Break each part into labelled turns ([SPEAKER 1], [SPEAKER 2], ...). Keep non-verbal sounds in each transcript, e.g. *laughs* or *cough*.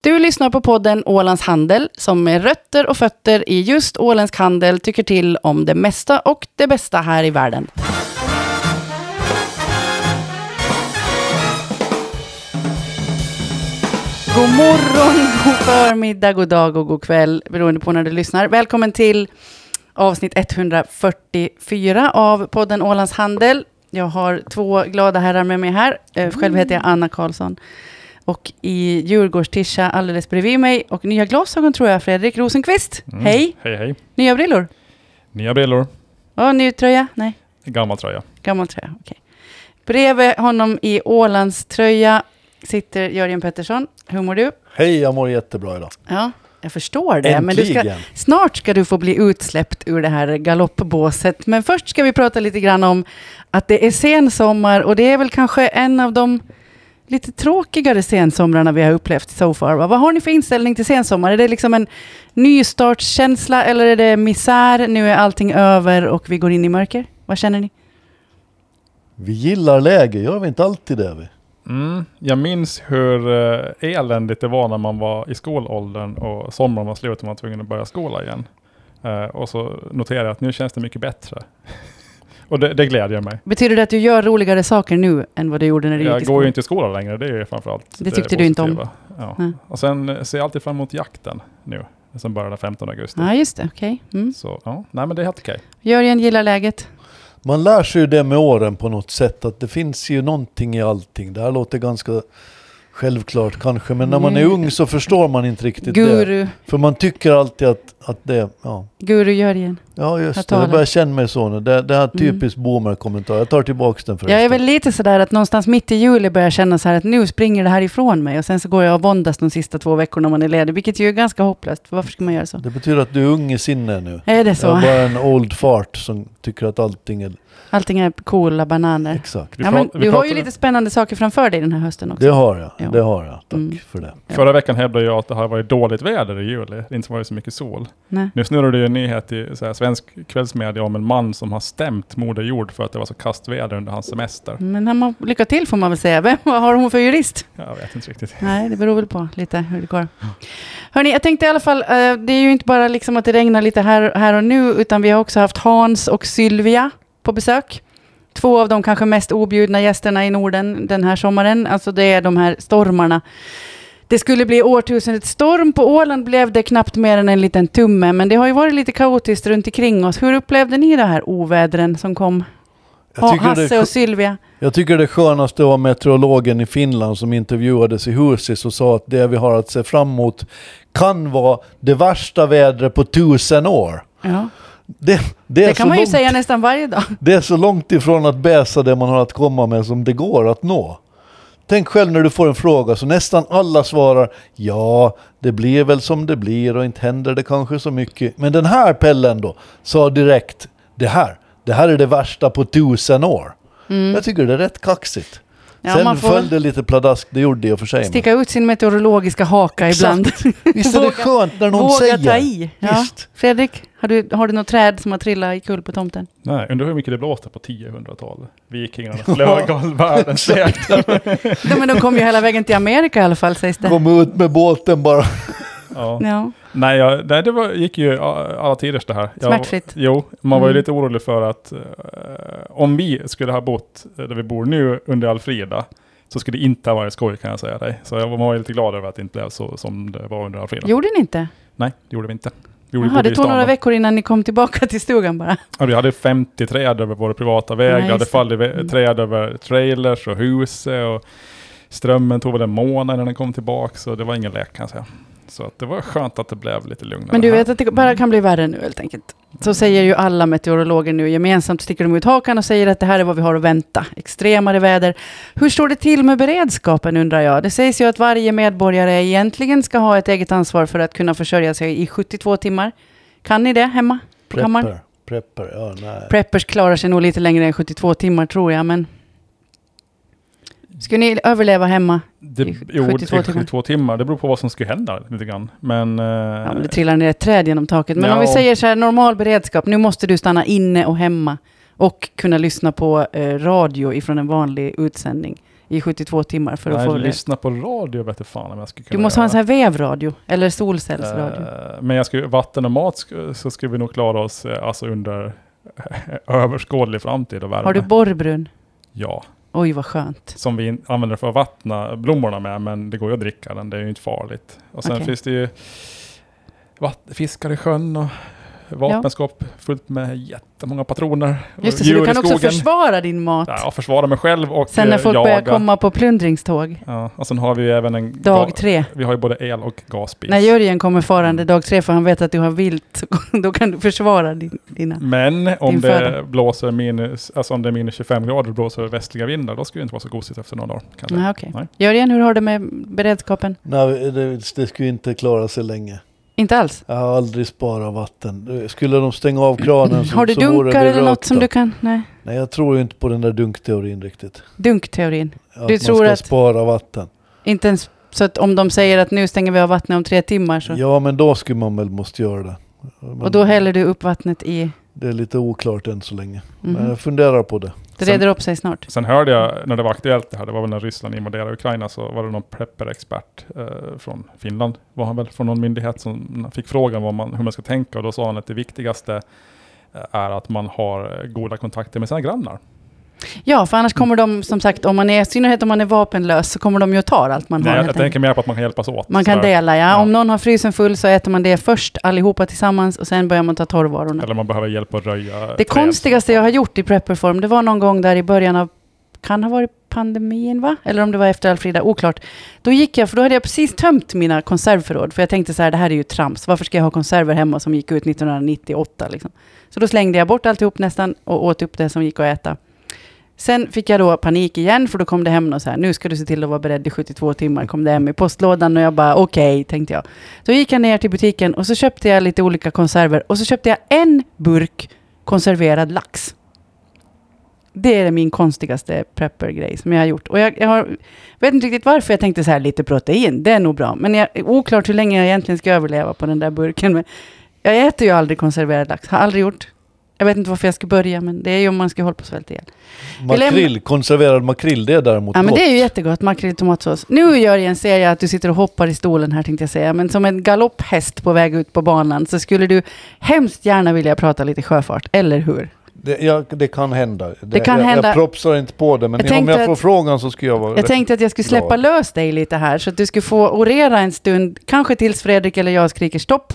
[SPEAKER 1] Du lyssnar på podden Ålands Handel som med rötter och fötter i just åländsk handel tycker till om det mesta och det bästa här i världen. God morgon, god förmiddag, god dag och god kväll beroende på när du lyssnar. Välkommen till avsnitt 144 av podden Ålands Handel. Jag har två glada herrar med mig här. Eh, Själv heter jag Anna Karlsson. Och i Djurgårdstisha alldeles bredvid mig och nya glasögon tror jag, Fredrik Rosenqvist.
[SPEAKER 2] Mm.
[SPEAKER 1] Hej!
[SPEAKER 2] Hej hej.
[SPEAKER 1] Nya brillor?
[SPEAKER 2] Nya brillor,
[SPEAKER 1] Ja, ny tröja? Nej,
[SPEAKER 2] gammal tröja.
[SPEAKER 1] gammal tröja. Okej. Bredvid honom i Ålands tröja sitter Jörgen Pettersson. Hur mår du?
[SPEAKER 3] Hej, jag mår jättebra idag.
[SPEAKER 1] Ja, jag förstår det.
[SPEAKER 3] Äntligen!
[SPEAKER 1] Men du ska, snart ska du få bli utsläppt ur det här galoppbåset. Men först ska vi prata lite grann om att det är sensommar och det är väl kanske en av de lite tråkigare sensomrarna vi har upplevt so far. Va? Vad har ni för inställning till sensommar? Är det liksom en nystartskänsla eller är det misär? Nu är allting över och vi går in i mörker. Vad känner ni?
[SPEAKER 3] Vi gillar läge, gör vi inte alltid det? Vi?
[SPEAKER 2] Mm. Jag minns hur eh, eländigt det var när man var i skolåldern och sommaren var slut och man var tvungen att börja skola igen. Eh, och så noterade jag att nu känns det mycket bättre. *laughs* och det, det glädjer mig.
[SPEAKER 1] Betyder det att du gör roligare saker nu än vad du gjorde när du gick
[SPEAKER 2] Jag
[SPEAKER 1] i
[SPEAKER 2] går ju
[SPEAKER 1] skolan?
[SPEAKER 2] inte i skolan längre, det är ju framförallt
[SPEAKER 1] Det tyckte du inte om.
[SPEAKER 2] positiva. Ja.
[SPEAKER 1] Nej.
[SPEAKER 2] Och sen eh, ser jag alltid fram emot jakten nu, som börjar den 15 augusti.
[SPEAKER 1] Ja, just det. Okej. Mm.
[SPEAKER 2] Så ja, nej men det är helt okej.
[SPEAKER 1] Jörgen gillar läget.
[SPEAKER 3] Man lär sig ju det med åren på något sätt, att det finns ju någonting i allting. Det här låter ganska självklart kanske, men när man är
[SPEAKER 1] Mm.
[SPEAKER 3] ung så förstår man inte riktigt det.
[SPEAKER 1] Guru,
[SPEAKER 3] För man tycker alltid att, att det, ja.
[SPEAKER 1] Guru Jörgen.
[SPEAKER 3] Ja
[SPEAKER 1] Jag
[SPEAKER 3] just det,
[SPEAKER 1] talar.
[SPEAKER 3] jag börjar känna mig så nu. Det, det här är
[SPEAKER 1] Mm.
[SPEAKER 3] typiskt boomer-kommentar. Jag tar tillbaks den förresten.
[SPEAKER 1] Jag är väl lite sådär att någonstans mitt i juli börjar jag känna så här att nu springer det här ifrån mig och sen så går jag och våndas de sista två veckorna man är ledig, vilket ju är ganska hopplöst. För varför ska man göra så?
[SPEAKER 3] Det betyder att du är ung i sinne nu.
[SPEAKER 1] Är det
[SPEAKER 3] Jag är
[SPEAKER 1] så?
[SPEAKER 3] bara en old fart som tycker att allting är
[SPEAKER 1] Allting är coola bananer.
[SPEAKER 3] exakt.
[SPEAKER 2] Vi
[SPEAKER 1] Ja, men
[SPEAKER 2] prat- vi
[SPEAKER 1] du har ju
[SPEAKER 2] pratade-
[SPEAKER 1] lite spännande saker framför dig den här hösten också.
[SPEAKER 3] Det har jag,
[SPEAKER 1] Ja.
[SPEAKER 3] det har jag. Tack
[SPEAKER 1] Mm.
[SPEAKER 3] för det.
[SPEAKER 1] Ja.
[SPEAKER 2] Förra veckan hävdade jag att det har varit dåligt väder i juli, det har inte varit så mycket sol.
[SPEAKER 1] Nej.
[SPEAKER 2] Nu snurrar det ju en nyhet i så här, svensk kvällsmedia om en man som har stämt Moder Jord för att det var så kasst väder under hans semester.
[SPEAKER 1] Men han må, lycka till får man väl säga. Vem, vad har hon för jurist?
[SPEAKER 2] Jag vet inte riktigt.
[SPEAKER 1] Nej, det beror väl på lite hur det går. Hörni, jag tänkte i alla fall, eh, det är ju inte bara liksom att det regnar lite här, här och nu, utan vi har också haft Hans och Sylvia på besök. Två av de kanske mest objudna gästerna i Norden den här sommaren. Alltså det är de här stormarna. Det skulle bli årtusendets storm. På Åland blev det knappt mer än en liten tumme, men det har ju varit lite kaotiskt runt omkring oss. Hur upplevde ni det här ovädren som kom?
[SPEAKER 3] Jag tycker, det,
[SPEAKER 1] Hasse
[SPEAKER 3] är
[SPEAKER 1] och
[SPEAKER 3] skö-
[SPEAKER 1] Sylvia.
[SPEAKER 3] jag tycker det skönaste var meteorologen i Finland som intervjuades i Husis och sa att det vi har att se fram emot kan vara det värsta vädret på tusen år.
[SPEAKER 1] Ja.
[SPEAKER 3] Det, det, är
[SPEAKER 1] Det
[SPEAKER 3] så
[SPEAKER 1] kan man ju
[SPEAKER 3] långt,
[SPEAKER 1] säga nästan varje dag.
[SPEAKER 3] det är så långt ifrån att bäsa det man har att komma med som det går att nå. Tänk själv när du får en fråga så nästan alla svarar ja, det blir väl som det blir och inte händer det kanske så mycket. Men den här pellen då sa direkt det här, det här är det värsta på tusen år.
[SPEAKER 1] Mm.
[SPEAKER 3] Jag tycker det är rätt kaxigt.
[SPEAKER 1] Ja,
[SPEAKER 3] Sen
[SPEAKER 1] man får
[SPEAKER 3] följde lite pladask, det gjorde det i och för sig. men-
[SPEAKER 1] sticka ut sin meteorologiska haka
[SPEAKER 3] Exakt.
[SPEAKER 1] ibland.
[SPEAKER 3] Visst är det
[SPEAKER 1] Våga-
[SPEAKER 3] skönt när någon
[SPEAKER 1] Våga
[SPEAKER 3] säger.
[SPEAKER 1] ta i. Ja.
[SPEAKER 3] Visst.
[SPEAKER 1] Fredrik, har du, har du något träd som har trillat ikkull på tomten?
[SPEAKER 2] Nej, undrar hur mycket det blåste på 1000-talet.
[SPEAKER 1] *laughs*
[SPEAKER 2] Vikingarna flög all världen säkert.
[SPEAKER 1] Ja, men de kom ju hela vägen till Amerika i alla fall sägs det.
[SPEAKER 3] Kom ut med båten bara.
[SPEAKER 2] Ja.
[SPEAKER 1] Ja.
[SPEAKER 2] Nej, jag, nej, det var, gick ju a- alla tiders det här. Jag,
[SPEAKER 1] Smärtfritt.
[SPEAKER 2] Jo, man var ju
[SPEAKER 1] Mm.
[SPEAKER 2] lite orolig för att eh, om vi skulle ha bott eh, där vi bor nu under Alfreda så skulle det inte ha varit skoj kan jag säga dig. Så jag, man var ju lite glad över att det inte blev så som det var under Alfreda.
[SPEAKER 1] Gjorde ni inte?
[SPEAKER 2] Nej, det gjorde vi inte. Vi gjorde
[SPEAKER 1] Jaha,
[SPEAKER 2] bodde
[SPEAKER 1] det
[SPEAKER 2] i
[SPEAKER 1] tog
[SPEAKER 2] stan
[SPEAKER 1] några
[SPEAKER 2] då.
[SPEAKER 1] veckor innan ni kom tillbaka till stugan bara.
[SPEAKER 2] Ja, vi hade 50 träd över våra privata
[SPEAKER 1] Ja,
[SPEAKER 2] vägar, det hade
[SPEAKER 1] just det.
[SPEAKER 2] fallit vä-
[SPEAKER 1] Mm.
[SPEAKER 2] träd över trailers och huset och strömmen tog väl en månad när den kom tillbaka, så det var ingen lek kan jag säga. Så att det var skönt att det blev lite lugnare.
[SPEAKER 1] Men du
[SPEAKER 2] här.
[SPEAKER 1] vet att det
[SPEAKER 2] Mm.
[SPEAKER 1] bara kan bli värre nu helt enkelt. Så säger ju alla meteorologer nu. Gemensamt sticker de ut hakan och säger att det här är vad vi har att vänta. Extremare väder. Hur står det till med beredskapen undrar jag? Det sägs ju att varje medborgare egentligen ska ha ett eget ansvar för att kunna försörja sig i 72 timmar. Kan ni det hemma? På kammaren?
[SPEAKER 3] Prepper. Prepper, ja nej.
[SPEAKER 1] Preppers klarar sig nog lite längre än 72 timmar tror jag, men... Skulle ni överleva hemma?
[SPEAKER 2] det,
[SPEAKER 1] i sj-
[SPEAKER 2] jo,
[SPEAKER 1] 72
[SPEAKER 2] 72,
[SPEAKER 1] timmar.
[SPEAKER 2] timmar. 72 timmar, det beror på vad som skulle hända lite grann. Men, eh,
[SPEAKER 1] Ja, men det trillar ner ett träd genom taket. Men om vi
[SPEAKER 2] Ja.
[SPEAKER 1] säger så här, normal beredskap, nu måste du stanna inne och hemma och kunna lyssna på eh, radio ifrån en vanlig utsändning i 72 timmar för att
[SPEAKER 2] Nej,
[SPEAKER 1] få det.
[SPEAKER 2] lyssna på radio vete fan om jag skulle
[SPEAKER 1] Du
[SPEAKER 2] kunna
[SPEAKER 1] måste ha en sån
[SPEAKER 2] göra.
[SPEAKER 1] här vävradio, eller solcellsradio.
[SPEAKER 2] Eh, Men jag skulle, vatten och mat sk- så skulle vi nog klara oss eh, alltså under *laughs* överskådlig framtid och värme.
[SPEAKER 1] Har du borrbrunn?
[SPEAKER 2] ja,
[SPEAKER 1] Oj, vad skönt.
[SPEAKER 2] som vi in- använder för att vattna blommorna med, men det går ju att dricka den, det är ju inte farligt. Och sen
[SPEAKER 1] Okej.
[SPEAKER 2] finns det ju vatt- fiskar i sjön och vapenskåp fullt med jättemånga patroner. och
[SPEAKER 1] Just det, så
[SPEAKER 2] djur
[SPEAKER 1] du
[SPEAKER 2] i
[SPEAKER 1] kan också
[SPEAKER 2] skogen.
[SPEAKER 1] försvara din mat.
[SPEAKER 2] Ja, och försvara mig själv och
[SPEAKER 1] Sen när
[SPEAKER 2] eh,
[SPEAKER 1] folk
[SPEAKER 2] jaga.
[SPEAKER 1] börjar komma på plundringståg,
[SPEAKER 2] Ja, och sen har vi ju även en...
[SPEAKER 1] dag
[SPEAKER 2] ga-
[SPEAKER 1] tre.
[SPEAKER 2] Vi har ju både el och gasspis.
[SPEAKER 1] När Jörgen kommer
[SPEAKER 2] Mm.
[SPEAKER 1] farande dag tre för han vet att du har vilt, *laughs* då kan du försvara din, dina.
[SPEAKER 2] Men om
[SPEAKER 1] Din
[SPEAKER 2] det,
[SPEAKER 1] fördel.
[SPEAKER 2] blåser minus, alltså om det är minus 25 grader och blåser västliga vindar, då skulle det inte vara så gosigt efter några dagar. Kanske.
[SPEAKER 1] Nej, okej.
[SPEAKER 2] Nej.
[SPEAKER 1] Jörgen, hur har du med beredskapen?
[SPEAKER 3] Nej, det, det skulle inte klara sig länge.
[SPEAKER 1] Inte alls.
[SPEAKER 3] Jag har aldrig sparat vatten. Skulle de stänga av kranen så,
[SPEAKER 1] Mm. har du
[SPEAKER 3] så vore
[SPEAKER 1] dunkar
[SPEAKER 3] det
[SPEAKER 1] eller något
[SPEAKER 3] rökt
[SPEAKER 1] som
[SPEAKER 3] då.
[SPEAKER 1] du kan? Nej.
[SPEAKER 3] Nej, jag tror ju inte på den där dunkteorin riktigt.
[SPEAKER 1] Dunkteorin.
[SPEAKER 3] Att
[SPEAKER 1] Du
[SPEAKER 3] man
[SPEAKER 1] tror
[SPEAKER 3] ska
[SPEAKER 1] att-
[SPEAKER 3] spara vatten.
[SPEAKER 1] Inte ens så att om de säger att nu stänger vi av vattnet om tre timmar så.
[SPEAKER 3] Ja, men då skulle man väl måste göra det. Men
[SPEAKER 1] och då häller du upp vattnet i...
[SPEAKER 3] Det är lite oklart än så länge.
[SPEAKER 1] Mhm.
[SPEAKER 3] Men jag funderar på det.
[SPEAKER 1] Det reder upp sig snart.
[SPEAKER 2] Sen hörde jag, när det var aktuellt det här, det var väl när Ryssland invaderade Ukraina, så var det någon prepper-expert eh, från Finland, var han väl, från någon myndighet som fick frågan vad man, hur man ska tänka, och då sa han att det viktigaste eh, är att man har eh, goda kontakter med sina grannar.
[SPEAKER 1] Ja, för annars kommer de som sagt, om man är, i synnerhet om man är vapenlös, så kommer de ju att ta allt man
[SPEAKER 2] Nej,
[SPEAKER 1] har.
[SPEAKER 2] jag
[SPEAKER 1] helt enkelt.
[SPEAKER 2] tänker mer på att man kan hjälpas åt.
[SPEAKER 1] Man kan
[SPEAKER 2] sådär.
[SPEAKER 1] dela, ja.
[SPEAKER 2] Ja.
[SPEAKER 1] Om någon har frysen full så äter man det först allihopa tillsammans och sen börjar man ta torrvarorna.
[SPEAKER 2] Eller man behöver hjälp att röja.
[SPEAKER 1] Det
[SPEAKER 2] träd.
[SPEAKER 1] konstigaste jag har gjort i prepperform, det var någon gång där i början av, kan ha varit pandemin va? Eller om det var efter Alfrida, oklart. Då gick jag, för då hade jag precis tömt mina konservförråd, för jag tänkte så här, det här är ju trams, varför ska jag ha konserver hemma som gick ut 1998 liksom? Så då slängde jag bort alltihop nästan och åt upp det som gick att äta. Sen fick jag då panik igen, för då kom det hem och så här, nu ska du se till att vara beredd i 72 timmar, kom det hem i postlådan och jag bara okej, tänkte jag. Så gick jag ner till butiken och så köpte jag lite olika konserver och så köpte jag en burk konserverad lax. Det är min konstigaste prepper-grej som jag har gjort. Och jag, jag har, vet inte riktigt varför jag tänkte så här, lite protein, det är nog bra. Men jag, oklart hur länge jag egentligen ska överleva på den där burken. Men jag äter ju aldrig konserverad lax, har aldrig gjort. Jag vet inte varför jag ska börja, men det är ju om man ska hålla på att svälta ihjäl. lämnar-
[SPEAKER 3] Makrill, konserverad makrill, det är däremot
[SPEAKER 1] Ja, men
[SPEAKER 3] gott.
[SPEAKER 1] det är ju jättegott, makrill i tomatsås. Nu Jörgen ser jag att du sitter och hoppar i stolen här tänkte jag säga. Men som en galopphäst på väg ut på banan så skulle du hemskt gärna vilja prata lite sjöfart, eller hur?
[SPEAKER 3] Det, ja, det kan hända. Det,
[SPEAKER 1] kan
[SPEAKER 3] jag,
[SPEAKER 1] hända.
[SPEAKER 3] Jag propsar inte på det, men
[SPEAKER 1] Jag
[SPEAKER 3] om
[SPEAKER 1] tänkte
[SPEAKER 3] jag får
[SPEAKER 1] att-
[SPEAKER 3] frågan så skulle jag vara...
[SPEAKER 1] Jag tänkte att jag skulle släppa
[SPEAKER 3] glad.
[SPEAKER 1] lös dig lite här, så att du skulle få orera en stund, kanske tills Fredrik eller jag skriker stopp,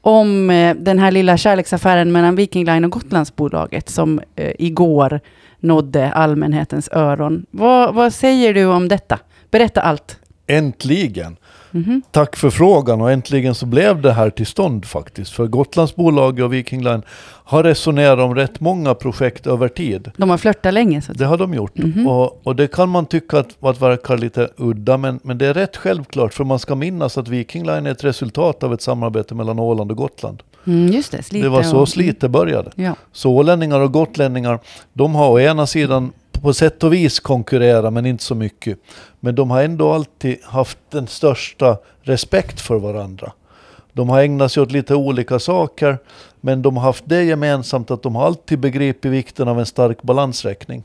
[SPEAKER 1] om eh, den här lilla kärleksaffären mellan Viking Line och Gotlandsbolaget som eh, igår nådde allmänhetens öron. Vad, vad säger du om detta? Berätta allt.
[SPEAKER 3] Äntligen!
[SPEAKER 1] Mhm.
[SPEAKER 3] Tack för frågan och äntligen så blev det här till stånd faktiskt. För Gotlandsbolaget och Viking Line har resonerat om rätt många projekt över tid.
[SPEAKER 1] De har flörtat länge. Så att...
[SPEAKER 3] Det har de gjort.
[SPEAKER 1] Mhm.
[SPEAKER 3] Och, och det kan man tycka att, att verkar lite udda, men, men det är rätt självklart. För man ska minnas att Viking Line är ett resultat av ett samarbete mellan Åland och Gotland.
[SPEAKER 1] mm, just det, Slite
[SPEAKER 3] det var så
[SPEAKER 1] och-
[SPEAKER 3] Slite började.
[SPEAKER 1] Ja.
[SPEAKER 3] Så ålänningar och gotlänningar, de har å ena sidan på sätt och vis konkurrerat, men inte så mycket. Men de har ändå alltid haft den största respekt för varandra. De har ägnat sig åt lite olika saker, men de har haft det gemensamt att de har alltid begripit vikten av en stark balansräkning.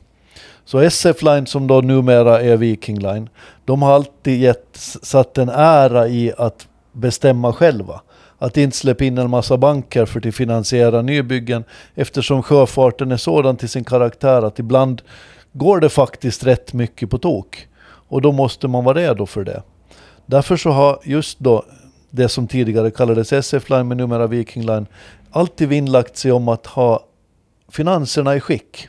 [SPEAKER 3] Så SF Line, som då numera är Viking Line, de har alltid gett, satt en ära i att bestämma själva. Att inte släppa in en massa banker för att finansiera nybyggen eftersom sjöfarten är sådan till sin karaktär att ibland går det faktiskt rätt mycket på tok. Och då måste man vara redo för det. Därför så har just då det som tidigare kallades SF Line men numera Viking Line alltid vinnlagt sig om att ha finanserna i skick.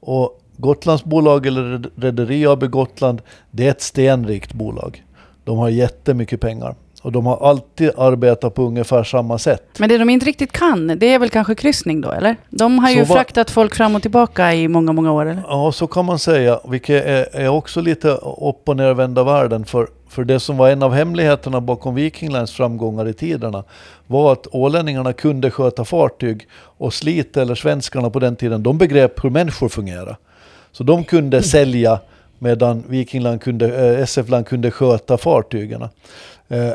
[SPEAKER 3] Och Gotlandsbolag eller Rederi AB Gotland, det är ett stenrikt bolag. De har jättemycket pengar och de har alltid arbetat på ungefär samma sätt.
[SPEAKER 1] Men det de inte riktigt kan, det är väl kanske kryssning då, eller? De har ju
[SPEAKER 3] Så vad-
[SPEAKER 1] fraktat folk fram och tillbaka i många, många år, eller?
[SPEAKER 3] Ja, så kan man säga, vilket är, är också lite upp och nervända världen. För, för det som var en av hemligheterna bakom Viking Lines framgångar i tiderna var att ålänningarna kunde sköta fartyg och Slite eller svenskarna på den tiden, de begrep hur människor fungerar. Så de kunde sälja medan Viking Line kunde, eh, SF Line kunde sköta fartygen. Eh,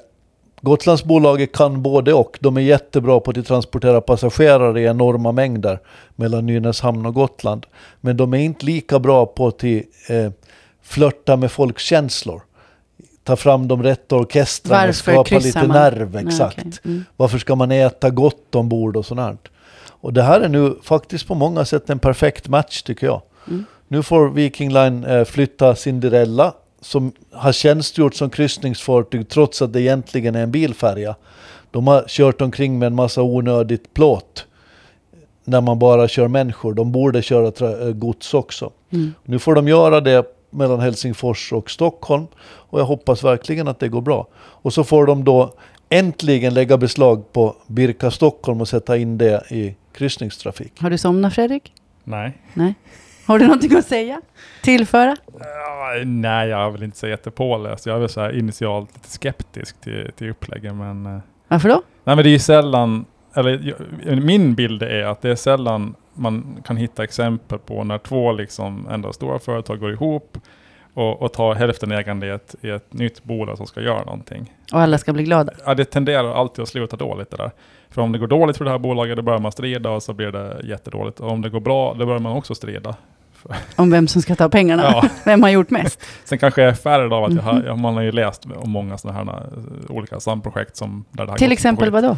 [SPEAKER 3] Gotlandsbolaget kan både och. De är jättebra på att transportera passagerare i enorma mängder mellan Nynäshamn och Gotland. Men de är inte lika bra på att eh, flörta med folks känslor. Ta fram de rätta orkestrarna och
[SPEAKER 1] Varför
[SPEAKER 3] skapa
[SPEAKER 1] kryssar
[SPEAKER 3] lite
[SPEAKER 1] man?
[SPEAKER 3] nerv.
[SPEAKER 1] Nej,
[SPEAKER 3] Exakt.
[SPEAKER 1] okej. Mm.
[SPEAKER 3] Varför ska man äta gott ombord och sånt här? Och det här är nu faktiskt på många sätt en perfekt match tycker jag.
[SPEAKER 1] Mm.
[SPEAKER 3] Nu får Viking Line eh, flytta Cinderella som har tjänstgjort som kryssningsfartyg trots att det egentligen är en bilfärja. De har kört omkring med en massa onödigt plåt när man bara kör människor. De borde köra tra- eh, gods också.
[SPEAKER 1] Mm.
[SPEAKER 3] Nu får de göra det mellan Helsingfors och Stockholm och jag hoppas verkligen att det går bra. Och så får de då äntligen lägga beslag på Birka Stockholm och sätta in det i kryssningstrafik.
[SPEAKER 1] Har du somnat Fredrik?
[SPEAKER 2] Nej.
[SPEAKER 1] Nej. Har du någonting att säga? Tillföra?
[SPEAKER 2] Ja, Eh, nej, jag är väl inte så jättepåläst. Jag är väl så här initialt lite skeptisk till, till uppläggen. Men, eh,
[SPEAKER 1] Varför då?
[SPEAKER 2] nej, men det är ju sällan, eller jag- min bild är att det är sällan man kan hitta exempel på när två liksom ändå stora företag går ihop och, och tar hälften ägande i ett, i ett nytt bolag som ska göra någonting.
[SPEAKER 1] Och alla ska bli glada.
[SPEAKER 2] Ja, det tenderar alltid att sluta dåligt det där. För om det går dåligt för det här bolaget, då börjar man strida och så blir det jättedåligt. Och om det går bra, då börjar man också strida.
[SPEAKER 1] Om vem som ska ta pengarna.
[SPEAKER 2] Ja.
[SPEAKER 1] Vem har gjort mest?
[SPEAKER 2] Sen kanske jag är färre av
[SPEAKER 1] *laughs*
[SPEAKER 2] att jag har,
[SPEAKER 1] Mhm.
[SPEAKER 2] jag- man har ju läst om många sådana här eh, olika samprojekt som där det har
[SPEAKER 1] Till
[SPEAKER 2] gått
[SPEAKER 1] exempel
[SPEAKER 2] skit.
[SPEAKER 1] vadå?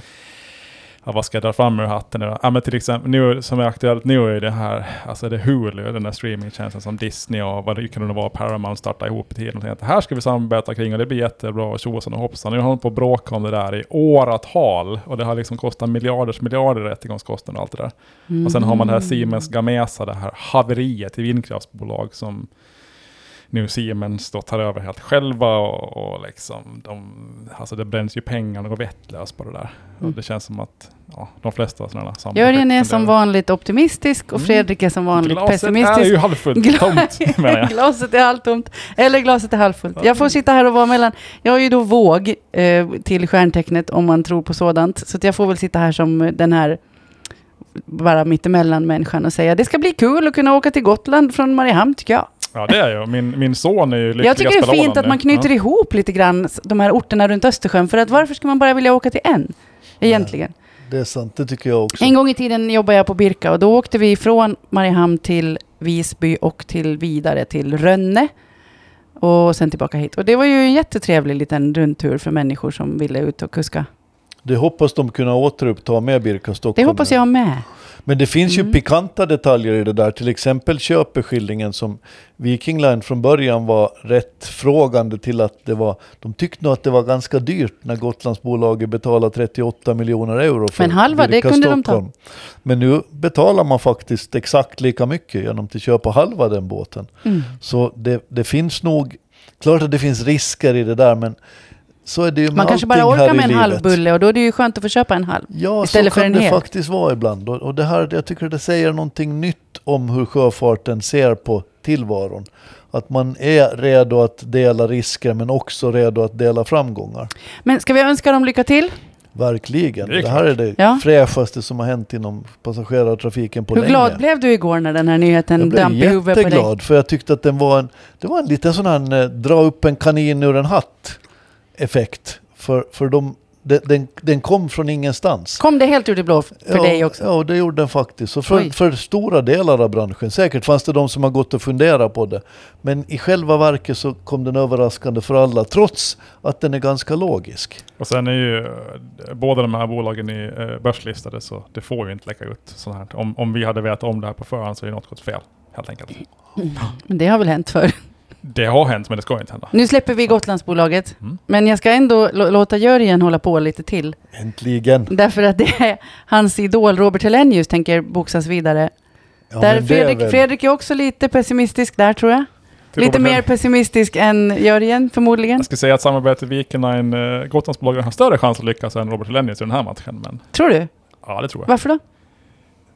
[SPEAKER 2] ja, vad ska jag dra fram ur hatten? nu då? Ja, men till exempel, nu, som är aktuellt nu är det här, alltså det är Hulu, den där streamingtjänsten som Disney och vad det kan det vara, Paramount startar ihop till någonting. Att Det här ska vi samarbeta kring och det blir jättebra och tjosan och hoppsan. Nu har de på att bråka om det där i åratal och det har liksom kostat miljarders miljarder i rättegångskostnader och allt det där. Och sen har man det
[SPEAKER 1] Mm.
[SPEAKER 2] här Siemens Gamesa, det här haveriet i vindkraftsbolag som nu Siemens då tar över helt själva och, och liksom de, alltså det bränns ju pengar och går vettlöst på det där.
[SPEAKER 1] Mm.
[SPEAKER 2] Och det känns som att ja, de flesta sådana här
[SPEAKER 1] Jörgen är som vanligt optimistisk och
[SPEAKER 2] Mm.
[SPEAKER 1] Fredrik är som vanligt
[SPEAKER 2] Glaset är
[SPEAKER 1] pessimistisk.
[SPEAKER 2] ju halvfullt
[SPEAKER 1] Gla-
[SPEAKER 2] tomt *laughs* menar jag.
[SPEAKER 1] glaset är halvtomt, eller glaset är halvfullt. Jag får sitta här och vara mellan. Jag är ju då våg eh, till stjärntecknet om man tror på sådant. Så att jag får väl sitta här som den här bara mittemellan människan och säga det ska bli kul att kunna åka till Gotland från Mariehamn tycker jag.
[SPEAKER 2] Ja det är ju, min, min son är ju lyckliga
[SPEAKER 1] Jag tycker det är fint
[SPEAKER 2] spelaren
[SPEAKER 1] att man
[SPEAKER 2] nu.
[SPEAKER 1] knyter
[SPEAKER 2] ja.
[SPEAKER 1] ihop lite grann de här orterna runt Östersjön. För att varför ska man bara vilja åka till en? Egentligen.
[SPEAKER 3] Det är sant, det tycker jag också.
[SPEAKER 1] En gång i tiden jobbade jag på Birka och då åkte vi från Mariehamn till Visby och till vidare till Rönne. Och sen tillbaka hit. Och det var ju en jättetrevlig liten rundtur för människor som ville ut och kuska.
[SPEAKER 3] Det hoppas de kunna återuppta med Birka
[SPEAKER 1] Det
[SPEAKER 3] Stockholm.
[SPEAKER 1] hoppas jag med.
[SPEAKER 3] Men det finns ju
[SPEAKER 1] Mm.
[SPEAKER 3] pikanta detaljer i det där. Till exempel Köpeskillingen som Viking Line från början var rätt frågande till att det var... De tyckte nog att det var ganska dyrt när Gotlandsbolaget betalade 38 miljoner euro för
[SPEAKER 1] Men halva, det
[SPEAKER 3] Birka
[SPEAKER 1] kunde de ta.
[SPEAKER 3] Stockholm. Men nu betalar man faktiskt exakt lika mycket genom att köpa halva den båten.
[SPEAKER 1] Mm.
[SPEAKER 3] Så det, det finns nog... Klart att det finns risker i det där men så är det ju med
[SPEAKER 1] Man kanske bara
[SPEAKER 3] allting här
[SPEAKER 1] orkar
[SPEAKER 3] i
[SPEAKER 1] med en halv
[SPEAKER 3] livet.
[SPEAKER 1] bulle och då är det ju skönt att få köpa en halv.
[SPEAKER 3] Ja,
[SPEAKER 1] Istället
[SPEAKER 3] så
[SPEAKER 1] för
[SPEAKER 3] kan
[SPEAKER 1] en
[SPEAKER 3] det
[SPEAKER 1] hel.
[SPEAKER 3] faktiskt vara ibland. Och, och det här, jag tycker det säger någonting nytt om hur sjöfarten ser på tillvaron. Att man är redo att dela risker men också redo att dela framgångar.
[SPEAKER 1] Men ska vi önska dem lycka till?
[SPEAKER 3] Verkligen.
[SPEAKER 2] Det är
[SPEAKER 3] Det, här är det
[SPEAKER 1] Ja.
[SPEAKER 3] fräschaste som har hänt inom passagerartrafiken på
[SPEAKER 1] Hur
[SPEAKER 3] länge.
[SPEAKER 1] glad blev du igår när den här nyheten
[SPEAKER 3] jag
[SPEAKER 1] damp
[SPEAKER 3] blev
[SPEAKER 1] i huvudet på dig?
[SPEAKER 3] jätteglad för jag tyckte att den var en, det var en liten sån här eh, dra upp en kanin ur en hatt effekt. För, för de, den- den, den kom från ingenstans.
[SPEAKER 1] Kom det helt ur det blå f- för
[SPEAKER 3] ja,
[SPEAKER 1] dig också?
[SPEAKER 3] Ja, det gjorde den faktiskt. Så
[SPEAKER 1] Oj.
[SPEAKER 3] för, för stora delar av branschen. Säkert fanns det de som har gått och funderat på det. Men i själva verket så kom den överraskande för alla, trots att den är ganska logisk.
[SPEAKER 2] Och sen är ju eh, båda de här bolagen är eh, börslistade så det får ju inte läcka ut sånt här. Om, om vi hade vetat om det här på förhand så är det något gått fel helt enkelt.
[SPEAKER 1] Mm. Men det har väl hänt förr.
[SPEAKER 2] Det har hänt men det ska inte hända.
[SPEAKER 1] Nu släpper vi Gotlandsbolaget.
[SPEAKER 2] Mm.
[SPEAKER 1] Men jag ska ändå lå- låta Jörgen hålla på lite till.
[SPEAKER 3] Äntligen.
[SPEAKER 1] Därför att det är hans idol Robert Hellenius tänker boxas vidare.
[SPEAKER 3] Ja,
[SPEAKER 1] där
[SPEAKER 3] men det är
[SPEAKER 1] Fredrik,
[SPEAKER 3] väl-
[SPEAKER 1] Fredrik är också lite pessimistisk där tror jag.
[SPEAKER 2] Till
[SPEAKER 1] lite
[SPEAKER 2] Robert
[SPEAKER 1] mer
[SPEAKER 2] Hell-
[SPEAKER 1] pessimistisk än Jörgen förmodligen.
[SPEAKER 2] Jag skulle säga att samarbetet Viking Line, eh, Gotlandsbolagen har större chans att lyckas än Robert Hellenius i den här matchen. Men
[SPEAKER 1] Tror du?
[SPEAKER 2] ja, det tror jag.
[SPEAKER 1] Varför då?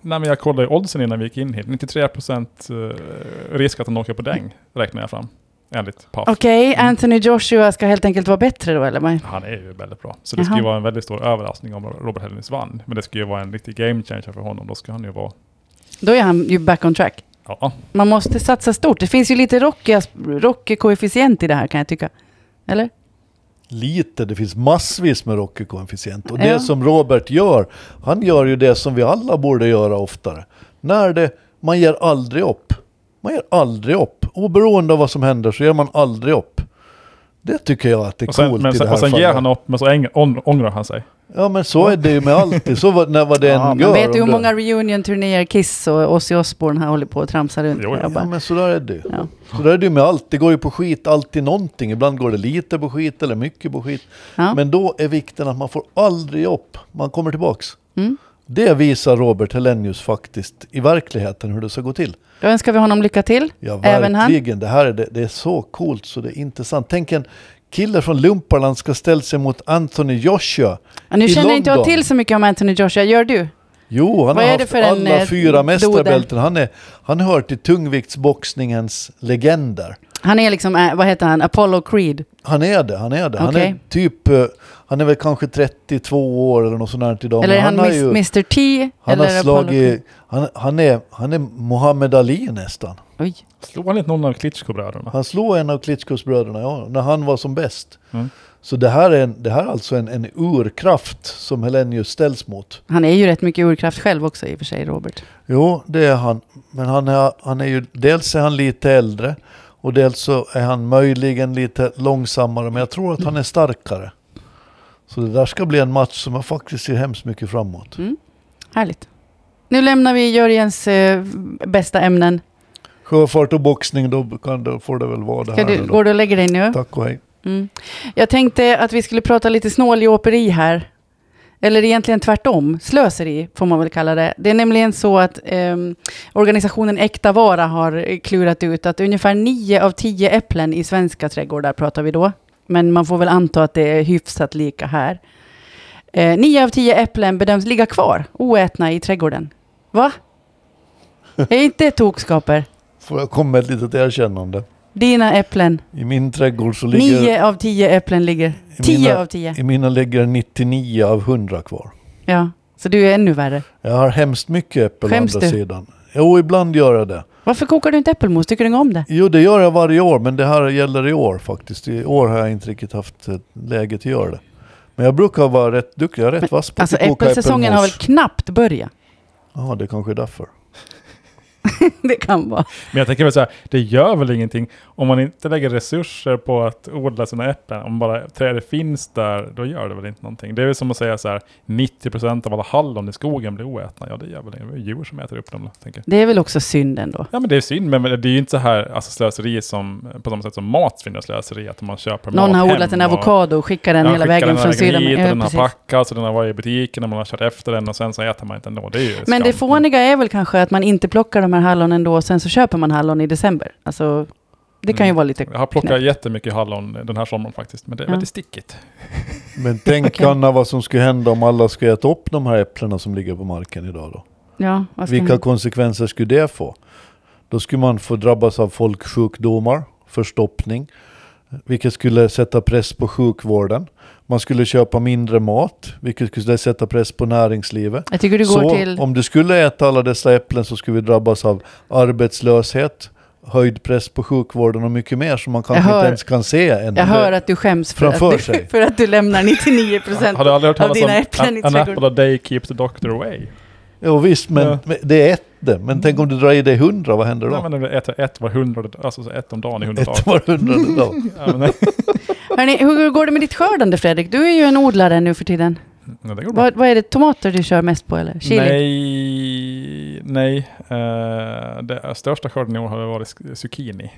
[SPEAKER 2] Nej, men jag kollade ju oddsen innan vi gick in hit. 93% eh, risk att han åker på däng, räknar jag fram. Enligt Paf.
[SPEAKER 1] Okej, Anthony Joshua ska helt enkelt vara bättre då eller? vad?
[SPEAKER 2] Han är ju väldigt bra. Så det
[SPEAKER 1] Jaha.
[SPEAKER 2] skulle ju vara en väldigt stor överraskning om Robert Hellenius vann. Men det skulle ju vara en riktig game changer för honom. Då ska han ju vara...
[SPEAKER 1] Då är han ju back on track.
[SPEAKER 2] Ja,
[SPEAKER 1] Man måste satsa stort. Det finns ju lite rockiga- rockig koefficient i det här kan jag tycka. Eller?
[SPEAKER 3] Lite, det finns massvis med Rocky-koefficient. Och det
[SPEAKER 1] Ja.
[SPEAKER 3] som Robert gör, han gör ju det som vi alla borde göra oftare. När det, man ger aldrig upp. Man ger aldrig upp. Oberoende av vad som händer så ger man aldrig upp. Det tycker jag att det är
[SPEAKER 2] Och sen,
[SPEAKER 3] coolt
[SPEAKER 2] men
[SPEAKER 3] i det
[SPEAKER 2] sen,
[SPEAKER 3] här
[SPEAKER 2] och sen
[SPEAKER 3] fallet.
[SPEAKER 2] ger han upp, men så äng, ång- ångrar han sig.
[SPEAKER 3] Ja men så är det ju med alltid. Så vad, när vad det
[SPEAKER 1] Ja,
[SPEAKER 3] än gör.
[SPEAKER 1] man vet ju
[SPEAKER 3] om
[SPEAKER 1] hur
[SPEAKER 3] det-
[SPEAKER 1] många reunion-turnéer Kiss och Ozzy Osbourne här håller på och tramsar runt.
[SPEAKER 2] Jo, jo.
[SPEAKER 1] Jag
[SPEAKER 3] Ja
[SPEAKER 1] bara,
[SPEAKER 3] men sådär är det ju.
[SPEAKER 1] ja.
[SPEAKER 3] Så där är det ju med allt. Det går ju på skit, alltid någonting. Ibland går det lite på skit eller mycket på skit.
[SPEAKER 1] Ja.
[SPEAKER 3] Men då är vikten att man får aldrig upp. Man kommer tillbaks.
[SPEAKER 1] Mm.
[SPEAKER 3] Det visar Robert Hellenius faktiskt i verkligheten hur det ska gå till.
[SPEAKER 1] Då önskar vi honom lycka till.
[SPEAKER 3] Ja,
[SPEAKER 1] Även han?
[SPEAKER 3] verkligen. Det här är, det, det är så coolt så det är intressant. Tänk en kille från Lumparland ska ställa sig mot Anthony Joshua.
[SPEAKER 1] Ja, Nu
[SPEAKER 3] I
[SPEAKER 1] känner inte jag
[SPEAKER 3] London.
[SPEAKER 1] till så mycket om Anthony Joshua, gör du?
[SPEAKER 3] Jo, han
[SPEAKER 1] Vad
[SPEAKER 3] har
[SPEAKER 1] är det
[SPEAKER 3] haft
[SPEAKER 1] för en,
[SPEAKER 3] alla
[SPEAKER 1] eh,
[SPEAKER 3] fyra
[SPEAKER 1] doder?
[SPEAKER 3] mästarbälten. Han, är, han hör till tungviktsboxningens legender.
[SPEAKER 1] Han är liksom, eh, vad heter han, Apollo Creed.
[SPEAKER 3] Han är det, han är det. Han
[SPEAKER 1] Okej.
[SPEAKER 3] är typ, eh, han är väl kanske 32 år eller något sånt här idag.
[SPEAKER 1] eller är
[SPEAKER 3] Men
[SPEAKER 1] han,
[SPEAKER 3] har
[SPEAKER 1] mis-
[SPEAKER 3] ju-
[SPEAKER 1] Mr T?
[SPEAKER 3] han
[SPEAKER 1] eller
[SPEAKER 3] har slagit, han, han, är, han är Muhammad Ali nästan.
[SPEAKER 1] Apollo... Oj.
[SPEAKER 2] Slår han inte någon av Klitschko-bröderna?
[SPEAKER 3] Han slog en av Klitschkos bröderna, ja, när han var som bäst.
[SPEAKER 2] Mm.
[SPEAKER 3] Så det här är, en, det här är alltså en, en urkraft som Hellenius ställs mot.
[SPEAKER 1] Han är ju rätt mycket urkraft själv också i och för sig, Robert.
[SPEAKER 3] Jo, det är han. Men han är, han är ju, dels är han lite äldre och dels så är han möjligen lite långsammare. Men jag tror att han är starkare. Så det där ska bli en match som jag faktiskt ser hemskt mycket framåt.
[SPEAKER 1] Härligt. Nu lämnar vi Jörgens eh, bästa ämnen.
[SPEAKER 3] Sjöfart och boxning, då, kan, då får det väl vara det
[SPEAKER 1] Ska
[SPEAKER 3] här.
[SPEAKER 1] du,
[SPEAKER 3] nu då.
[SPEAKER 1] går du och lägger dig nu?
[SPEAKER 3] Tack och hej.
[SPEAKER 1] Mm. Jag tänkte att vi skulle prata lite snåljåperi här. Eller egentligen tvärtom, slöseri får man väl kalla det. Det är nämligen så att ehm, organisationen Äkta Vara har eh, klurat ut att ungefär nio av tio äpplen i svenska trädgårdar pratar vi då. Men man får väl anta att det är hyfsat lika här. Eh, nio av tio äpplen bedöms ligga kvar oätna i trädgården.
[SPEAKER 3] *laughs*
[SPEAKER 1] Va? Det är inte tokskaper.
[SPEAKER 3] Får jag komma med ett litet erkännande?
[SPEAKER 1] Dina äpplen.
[SPEAKER 3] I min trädgård så ligger...
[SPEAKER 1] Nio av tio äpplen ligger.
[SPEAKER 3] I
[SPEAKER 1] Tio
[SPEAKER 3] mina-
[SPEAKER 1] av tio.
[SPEAKER 3] I mina ligger 99 av 100 kvar.
[SPEAKER 1] Ja, så du är ännu värre.
[SPEAKER 3] Jag har hemskt mycket äppel å
[SPEAKER 1] Skäms
[SPEAKER 3] andra
[SPEAKER 1] du?
[SPEAKER 3] sidan. Jo, ibland gör jag det.
[SPEAKER 1] Varför kokar du inte äppelmos? Tycker du inte om det?
[SPEAKER 3] Jo, det gör jag varje år, men det här gäller i år faktiskt. I år har jag inte riktigt haft eh, läget att göra det. Men jag brukar vara rätt duktig, jag är rätt vass på
[SPEAKER 1] Alltså
[SPEAKER 3] att typ koka
[SPEAKER 1] äppelsäsongen har väl knappt börjat? *laughs*
[SPEAKER 3] Ja, det kanske är därför.
[SPEAKER 1] Det kan vara.
[SPEAKER 2] Men jag tänker väl så här, det gör väl ingenting om man inte lägger resurser på att odla sina äpplen. Om bara trädet finns där, då gör det väl inte någonting. Det är väl som att säga så här, 90% av alla hallon i skogen blir oätna. Ja, det gör väl inget. Det är djur som äter upp dem, tänker jag.
[SPEAKER 1] Det är väl också synd ändå.
[SPEAKER 2] Ja, men det är synd, men det är ju inte så här alltså, slöseri som, på samma sätt som mat finns slöseri, att man köper mat
[SPEAKER 1] Någon har
[SPEAKER 2] hem
[SPEAKER 1] odlat en
[SPEAKER 2] och-
[SPEAKER 1] avokado och skickat den
[SPEAKER 2] Ja,
[SPEAKER 1] hela
[SPEAKER 2] skickar
[SPEAKER 1] vägen från
[SPEAKER 2] hit,
[SPEAKER 1] Sydamerika.
[SPEAKER 2] och
[SPEAKER 1] Ja,
[SPEAKER 2] Den har
[SPEAKER 1] precis.
[SPEAKER 2] packats och den har varit i butiken och man har kört efter den och sen så äter man inte den då. Det är ju
[SPEAKER 1] Men
[SPEAKER 2] skam.
[SPEAKER 1] det fåniga är väl kanske att man inte plockar de här hallonen då och sen så köper man hallon i december. Alltså, det kan ju
[SPEAKER 2] Mm.
[SPEAKER 1] vara lite...
[SPEAKER 2] Jag har plockat
[SPEAKER 1] knäppt.
[SPEAKER 2] jättemycket hallon den här sommaren faktiskt, men det är
[SPEAKER 1] Ja.
[SPEAKER 2] väldigt stickigt.
[SPEAKER 3] Men tänk Anna vad som skulle hända om alla skulle äta upp de här äpplena som ligger på marken idag då.
[SPEAKER 1] Ja, vad ska
[SPEAKER 3] Vilka
[SPEAKER 1] jag-
[SPEAKER 3] konsekvenser skulle det få? Då skulle man få drabbas av folksjukdomar, förstoppning, vilket skulle sätta press på sjukvården. Man skulle köpa mindre mat, vilket skulle sätta press på näringslivet.
[SPEAKER 1] jag tycker du går
[SPEAKER 3] Så
[SPEAKER 1] till...
[SPEAKER 3] om du skulle äta alla dessa äpplen så skulle vi drabbas av arbetslöshet, höjd press på sjukvården och mycket mer som man kanske
[SPEAKER 1] hör-
[SPEAKER 3] inte ens kan se än.
[SPEAKER 1] Jag hör att du skäms för,
[SPEAKER 3] Framför
[SPEAKER 1] att du,
[SPEAKER 3] sig.
[SPEAKER 1] *laughs* för att du
[SPEAKER 3] *laughs*
[SPEAKER 1] lämnar 99 procent.
[SPEAKER 2] Har du aldrig hört
[SPEAKER 1] av
[SPEAKER 2] talas
[SPEAKER 1] dina
[SPEAKER 2] om
[SPEAKER 1] äpplen i
[SPEAKER 2] an- an
[SPEAKER 1] trädgården?
[SPEAKER 2] apple a day keeps the doctor away?
[SPEAKER 3] Jo visst, men
[SPEAKER 2] Ja.
[SPEAKER 3] men det är ett det. Men tänk om du drar i dig hundra, vad händer då?
[SPEAKER 2] Nej, men det äter ett var hundrade, alltså så ett om dagen i hundra dagar.
[SPEAKER 3] *laughs* ett var hundrade dag.
[SPEAKER 2] Ja, men, *laughs* nej.
[SPEAKER 1] Hörrni, hur går det med ditt skördande Fredrik? Du är ju en odlare nu för tiden.
[SPEAKER 2] Nej, det går bra.
[SPEAKER 1] Vad, vad är det, tomater du kör mest på eller? Chili?
[SPEAKER 2] Nej, nej. Eh, det största skörden i år har det varit sk- zucchini.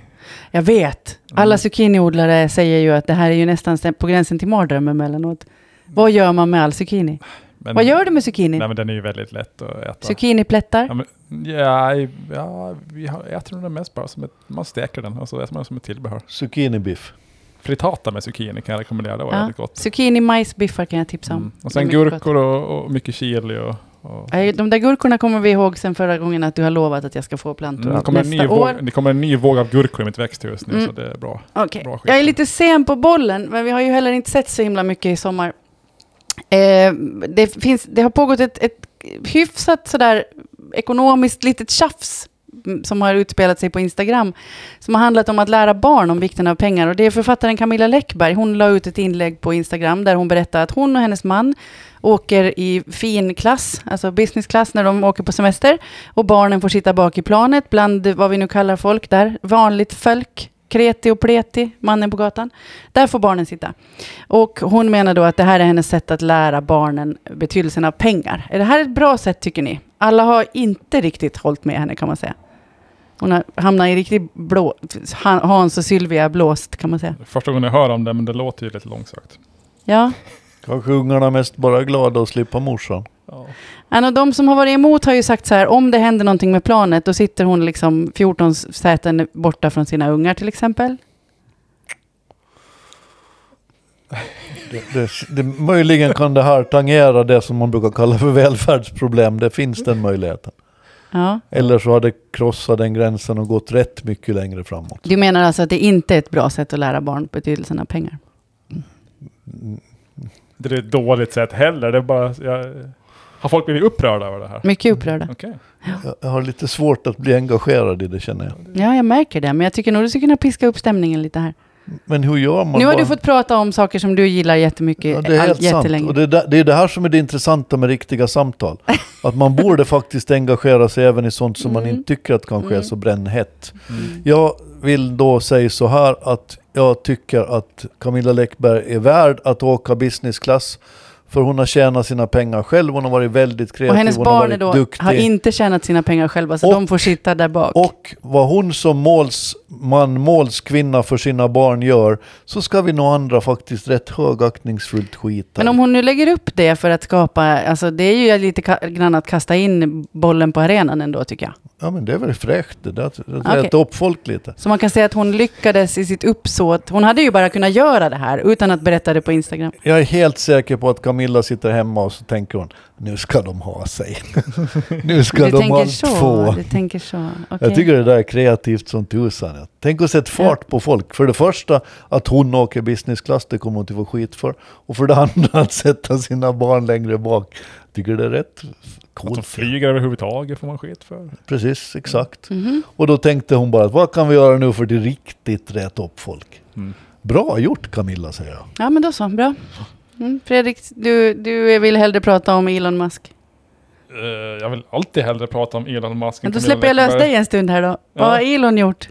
[SPEAKER 1] Jag vet. Alla
[SPEAKER 2] Mm.
[SPEAKER 1] zucchiniodlare säger ju att det här är ju nästan stä- på gränsen till mardröm emellanåt. Vad gör man med all zucchini?
[SPEAKER 2] Men,
[SPEAKER 1] Vad gör du med zucchini?
[SPEAKER 2] Mm. Nej, men Mm. den är ju väldigt lätt att äta.
[SPEAKER 1] Zucchiniplättar?
[SPEAKER 2] Ja, men, ja, ja, vi har, jag äter nog den mest bara som ett, man steker den och så äter man den som ett tillbehör.
[SPEAKER 3] Zucchinibiff.
[SPEAKER 2] Frittata med zucchini kan jag rekommendera, det var
[SPEAKER 1] Ja.
[SPEAKER 2] väldigt gott.
[SPEAKER 1] Zucchini, majs, biffar kan jag tipsa om.
[SPEAKER 2] Mm. Och
[SPEAKER 1] Det är
[SPEAKER 2] sen
[SPEAKER 1] mycket gott.
[SPEAKER 2] gurkor och, och mycket chili och... och
[SPEAKER 1] Nej, De där gurkorna kommer vi ihåg sen förra gången att du har lovat att jag ska få plantor
[SPEAKER 2] Mm, det,
[SPEAKER 1] av
[SPEAKER 2] kommer en ny
[SPEAKER 1] nästa år.
[SPEAKER 2] våg, det kommer en ny våg av gurkor i mitt växthus nu,
[SPEAKER 1] Mm.
[SPEAKER 2] så det är bra.
[SPEAKER 1] Okej.
[SPEAKER 2] Bra skit.
[SPEAKER 1] Jag är lite sen på bollen, men vi har ju heller inte sett så himla mycket i sommar. Eh, det, finns, det har pågått ett, ett hyfsat sådär ekonomiskt litet tjafs mm, som har utspelat sig på Instagram, som har handlat om att lära barn om vikten av pengar. Och det är författaren Camilla Läckberg. Hon la ut ett inlägg på Instagram där hon berättade att hon och hennes man åker i fin klass, alltså business class, när de åker på semester. Och barnen får sitta bak i planet bland vad vi nu kallar folk där, vanligt folk. Kreti och pleti, mannen på gatan. Där får barnen sitta. Och hon menar då att det här är hennes sätt att lära barnen betydelsen av pengar. Är det här ett bra sätt tycker ni? Alla har inte riktigt hållit med henne kan man säga. Hon har hamnat i riktigt blå... Han- Hans och Sylvia blåst kan man säga.
[SPEAKER 2] Första gången jag hör om det, men det låter ju lite långsökt.
[SPEAKER 1] Ja.
[SPEAKER 3] Kanske ungarna mest bara är glada att slippa morsan.
[SPEAKER 2] Ja.
[SPEAKER 1] En av de som har varit emot har ju sagt så här, om det händer någonting med planet, då sitter hon liksom 14 säten borta från sina ungar till exempel.
[SPEAKER 3] Det, det, det, möjligen kan det här tangera det som man brukar kalla för välfärdsproblem. Det finns den möjligheten.
[SPEAKER 1] Ja.
[SPEAKER 3] Eller så har det krossat den gränsen och gått rätt mycket längre framåt.
[SPEAKER 1] Du menar alltså att det inte är ett bra sätt att lära barn betydelsen av pengar?
[SPEAKER 2] Det är ett dåligt sätt heller. Det är bara, jag, har folk blivit upprörda över det här?
[SPEAKER 1] Mycket upprörda.
[SPEAKER 2] Okej.
[SPEAKER 3] Jag- Jag har lite svårt att bli engagerad i det känner jag.
[SPEAKER 1] Ja, jag märker det, men jag tycker nog du skulle kunna piska upp stämningen lite här.
[SPEAKER 3] Men hur gör man?
[SPEAKER 1] Nu har
[SPEAKER 3] bara?
[SPEAKER 1] du fått prata om saker som du gillar jättemycket,
[SPEAKER 3] Ja, det är
[SPEAKER 1] all-
[SPEAKER 3] helt sant.
[SPEAKER 1] jättelänge.
[SPEAKER 3] Och det, är där- det är det här som är det intressanta med riktiga samtal. Att man borde *laughs* faktiskt engagera sig även i sånt som man
[SPEAKER 1] Mm.
[SPEAKER 3] inte tycker att kanske är
[SPEAKER 1] Mm.
[SPEAKER 3] så brännhett.
[SPEAKER 2] Mm.
[SPEAKER 3] Jag vill då säga så här att jag tycker att Camilla Läckberg är värd att åka business class. För hon har tjänat sina pengar själv, hon har varit väldigt kreativ,
[SPEAKER 1] Och hennes
[SPEAKER 3] hon har
[SPEAKER 1] barn är
[SPEAKER 3] varit
[SPEAKER 1] då,
[SPEAKER 3] duktig.
[SPEAKER 1] har inte tjänat sina pengar själva, så
[SPEAKER 3] Och-
[SPEAKER 1] de får sitta där bak.
[SPEAKER 3] Och vad hon som målsman, målskvinna för sina barn gör, så ska vi nog andra faktiskt rätt högaktningsfullt skita
[SPEAKER 1] men om
[SPEAKER 3] i.
[SPEAKER 1] hon nu lägger upp det för att skapa, alltså det är ju lite ka- grann att kasta in bollen på arenan ändå tycker jag.
[SPEAKER 3] Ja men det är väl fräckt, det där det
[SPEAKER 1] Okej.
[SPEAKER 3] rätar upp folk lite.
[SPEAKER 1] Så man kan säga att hon lyckades i sitt uppsåt. Hon hade ju bara kunnat göra det här utan att berätta det på Instagram.
[SPEAKER 3] Jag är helt säker på att Camilla sitter hemma och så tänker hon, nu ska de ha sig. *laughs* nu ska
[SPEAKER 1] du
[SPEAKER 3] de
[SPEAKER 1] tänker
[SPEAKER 3] allt
[SPEAKER 1] så,
[SPEAKER 3] få.
[SPEAKER 1] du tänker så. Okej.
[SPEAKER 3] Jag tycker det där är kreativt som tusan. Tänk att sätta fart på folk. För det första, att hon åker business class, det kommer hon inte få skit för. Och för det andra, *laughs* att sätta sina barn längre bak. Jag tycker det är rätt
[SPEAKER 2] Att de
[SPEAKER 3] coolt.
[SPEAKER 2] flyger överhuvudtaget får man skit för.
[SPEAKER 3] Precis, exakt.
[SPEAKER 1] Mhm.
[SPEAKER 3] Och då tänkte hon bara, vad kan vi göra nu för att riktigt rätt upp folk?
[SPEAKER 2] Mm.
[SPEAKER 3] Bra gjort Camilla, säger jag.
[SPEAKER 1] Ja men då så, bra. Mm, Fredrik, du, du vill hellre prata om Elon Musk.
[SPEAKER 2] Eh, jag vill alltid hellre prata om Elon Musk.
[SPEAKER 1] Men
[SPEAKER 2] än
[SPEAKER 1] då
[SPEAKER 2] Camilla
[SPEAKER 1] släpper jag lös
[SPEAKER 2] Läckberg.
[SPEAKER 1] dig en stund här då. Vad
[SPEAKER 2] Ja.
[SPEAKER 1] har Elon gjort?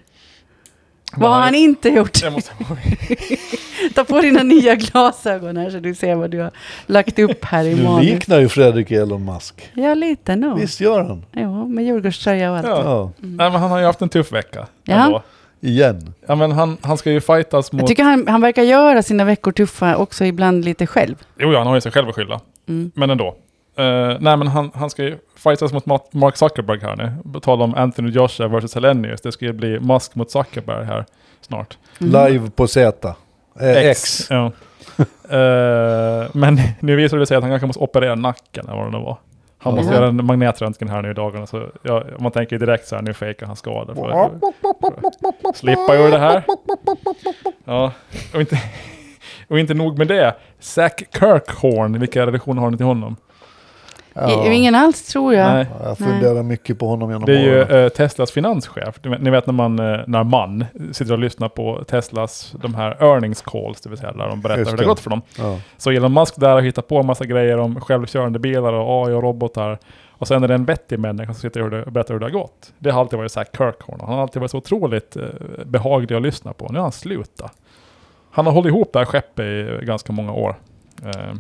[SPEAKER 2] Men
[SPEAKER 1] Vad har han inte gjort?
[SPEAKER 2] Jag måste,
[SPEAKER 1] Ta på dina nya glasögon här så du ser vad du har lagt upp här i
[SPEAKER 3] Du
[SPEAKER 1] manus.
[SPEAKER 3] liknar ju Fredrik Elon Musk.
[SPEAKER 1] Ja, lite nog.
[SPEAKER 3] Visst gör han?
[SPEAKER 1] Jo, med Djurgårdströja och allt.
[SPEAKER 2] Ja.
[SPEAKER 3] Ja,
[SPEAKER 2] nej, men han har ju haft en tuff vecka.
[SPEAKER 1] Ja.
[SPEAKER 2] ändå.
[SPEAKER 3] igen.
[SPEAKER 2] Ja, men han, han ska ju fightas
[SPEAKER 1] Jag
[SPEAKER 2] mot...
[SPEAKER 1] tycker han, han verkar göra sina veckor tuffa också ibland lite själv.
[SPEAKER 2] Jo, ja, han har ju sig själv att skylla.
[SPEAKER 1] Mm.
[SPEAKER 2] Men ändå. Eh, nej, men han, han ska ju fightas mot Ma- Mark Zuckerberg här nu. På tal om Anthony Joshua versus Hellenius. Det ska ju bli Musk mot Zuckerberg här snart.
[SPEAKER 1] Mm.
[SPEAKER 3] Live på Z. Eh, X.
[SPEAKER 2] Ja. Eh, men *laughs* nu visar det sig att han kanske måste operera nacken, eller vad det nu var. Han måste
[SPEAKER 1] Mhm.
[SPEAKER 2] göra en magnetröntgen här nu i dagarna. Så ja, man tänker ju direkt så här, nu fejkar han skador. För, för att slippa ur det här. Ja, och inte, *laughs* och inte nog med det. Zack Kirkhorn, vilka relationer har ni till honom?
[SPEAKER 1] I- Ingen alls tror jag.
[SPEAKER 2] Nej.
[SPEAKER 3] Ja, Jag funderar mycket på honom genom
[SPEAKER 2] Det är ju
[SPEAKER 3] åren.
[SPEAKER 2] eh, Teslas finanschef. Du vet- Ni vet när man, eh, när man sitter och lyssnar på Teslas de här earnings calls, det vill säga där de berättar
[SPEAKER 3] Just
[SPEAKER 2] hur det
[SPEAKER 3] det.
[SPEAKER 2] gått för dem.
[SPEAKER 3] Ja.
[SPEAKER 2] Så Elon Musk där har hittat på en massa grejer om självkörande bilar och AI och robotar. Och sen är det en vettig människa som sitter och hör- berättar hur det har gått. Det har alltid varit Zack Kirkhorn. Han har alltid varit så otroligt eh, behaglig att lyssna på. Nu har han slutat. Han har hållit ihop det här skeppet i ganska många år. Eh,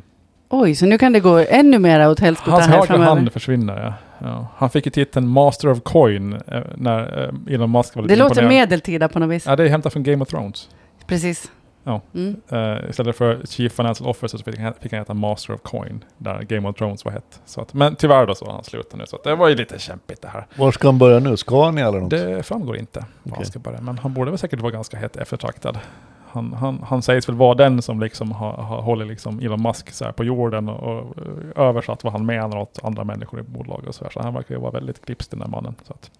[SPEAKER 1] Oj, så nu kan det gå ännu mer åt helskotta
[SPEAKER 2] Hans
[SPEAKER 1] här
[SPEAKER 2] högra
[SPEAKER 1] framöver.
[SPEAKER 2] hand försvinner, ja. ja. Han fick ju titeln Master of Coin eh, när eh, Elon Musk var lite
[SPEAKER 1] Det låter
[SPEAKER 2] imponerad.
[SPEAKER 1] medeltida på något vis.
[SPEAKER 2] Ja, det är hämtat från Game of Thrones.
[SPEAKER 1] Precis.
[SPEAKER 2] Ja.
[SPEAKER 1] Mm. *laughs*
[SPEAKER 2] Eh, istället för Chief Financial Officer så fick han, fick han heta Master of Coin, där Game of Thrones var hett. Så att, men tyvärr då så har han slutat nu, så att det var ju lite kämpigt det här.
[SPEAKER 3] Var ska han börja nu? Scania eller något?
[SPEAKER 2] Det framgår inte var han
[SPEAKER 3] Okej.
[SPEAKER 2] ska börja, men han borde väl säkert vara ganska hett eftertraktad. Han, han, han sägs väl vara den som liksom har, har hållit liksom Elon Musk så här på jorden och, och eh, översatt vad han menar åt andra människor i bolag och så här. Så han verkar ju vara väldigt klipsk den där mannen. Så att,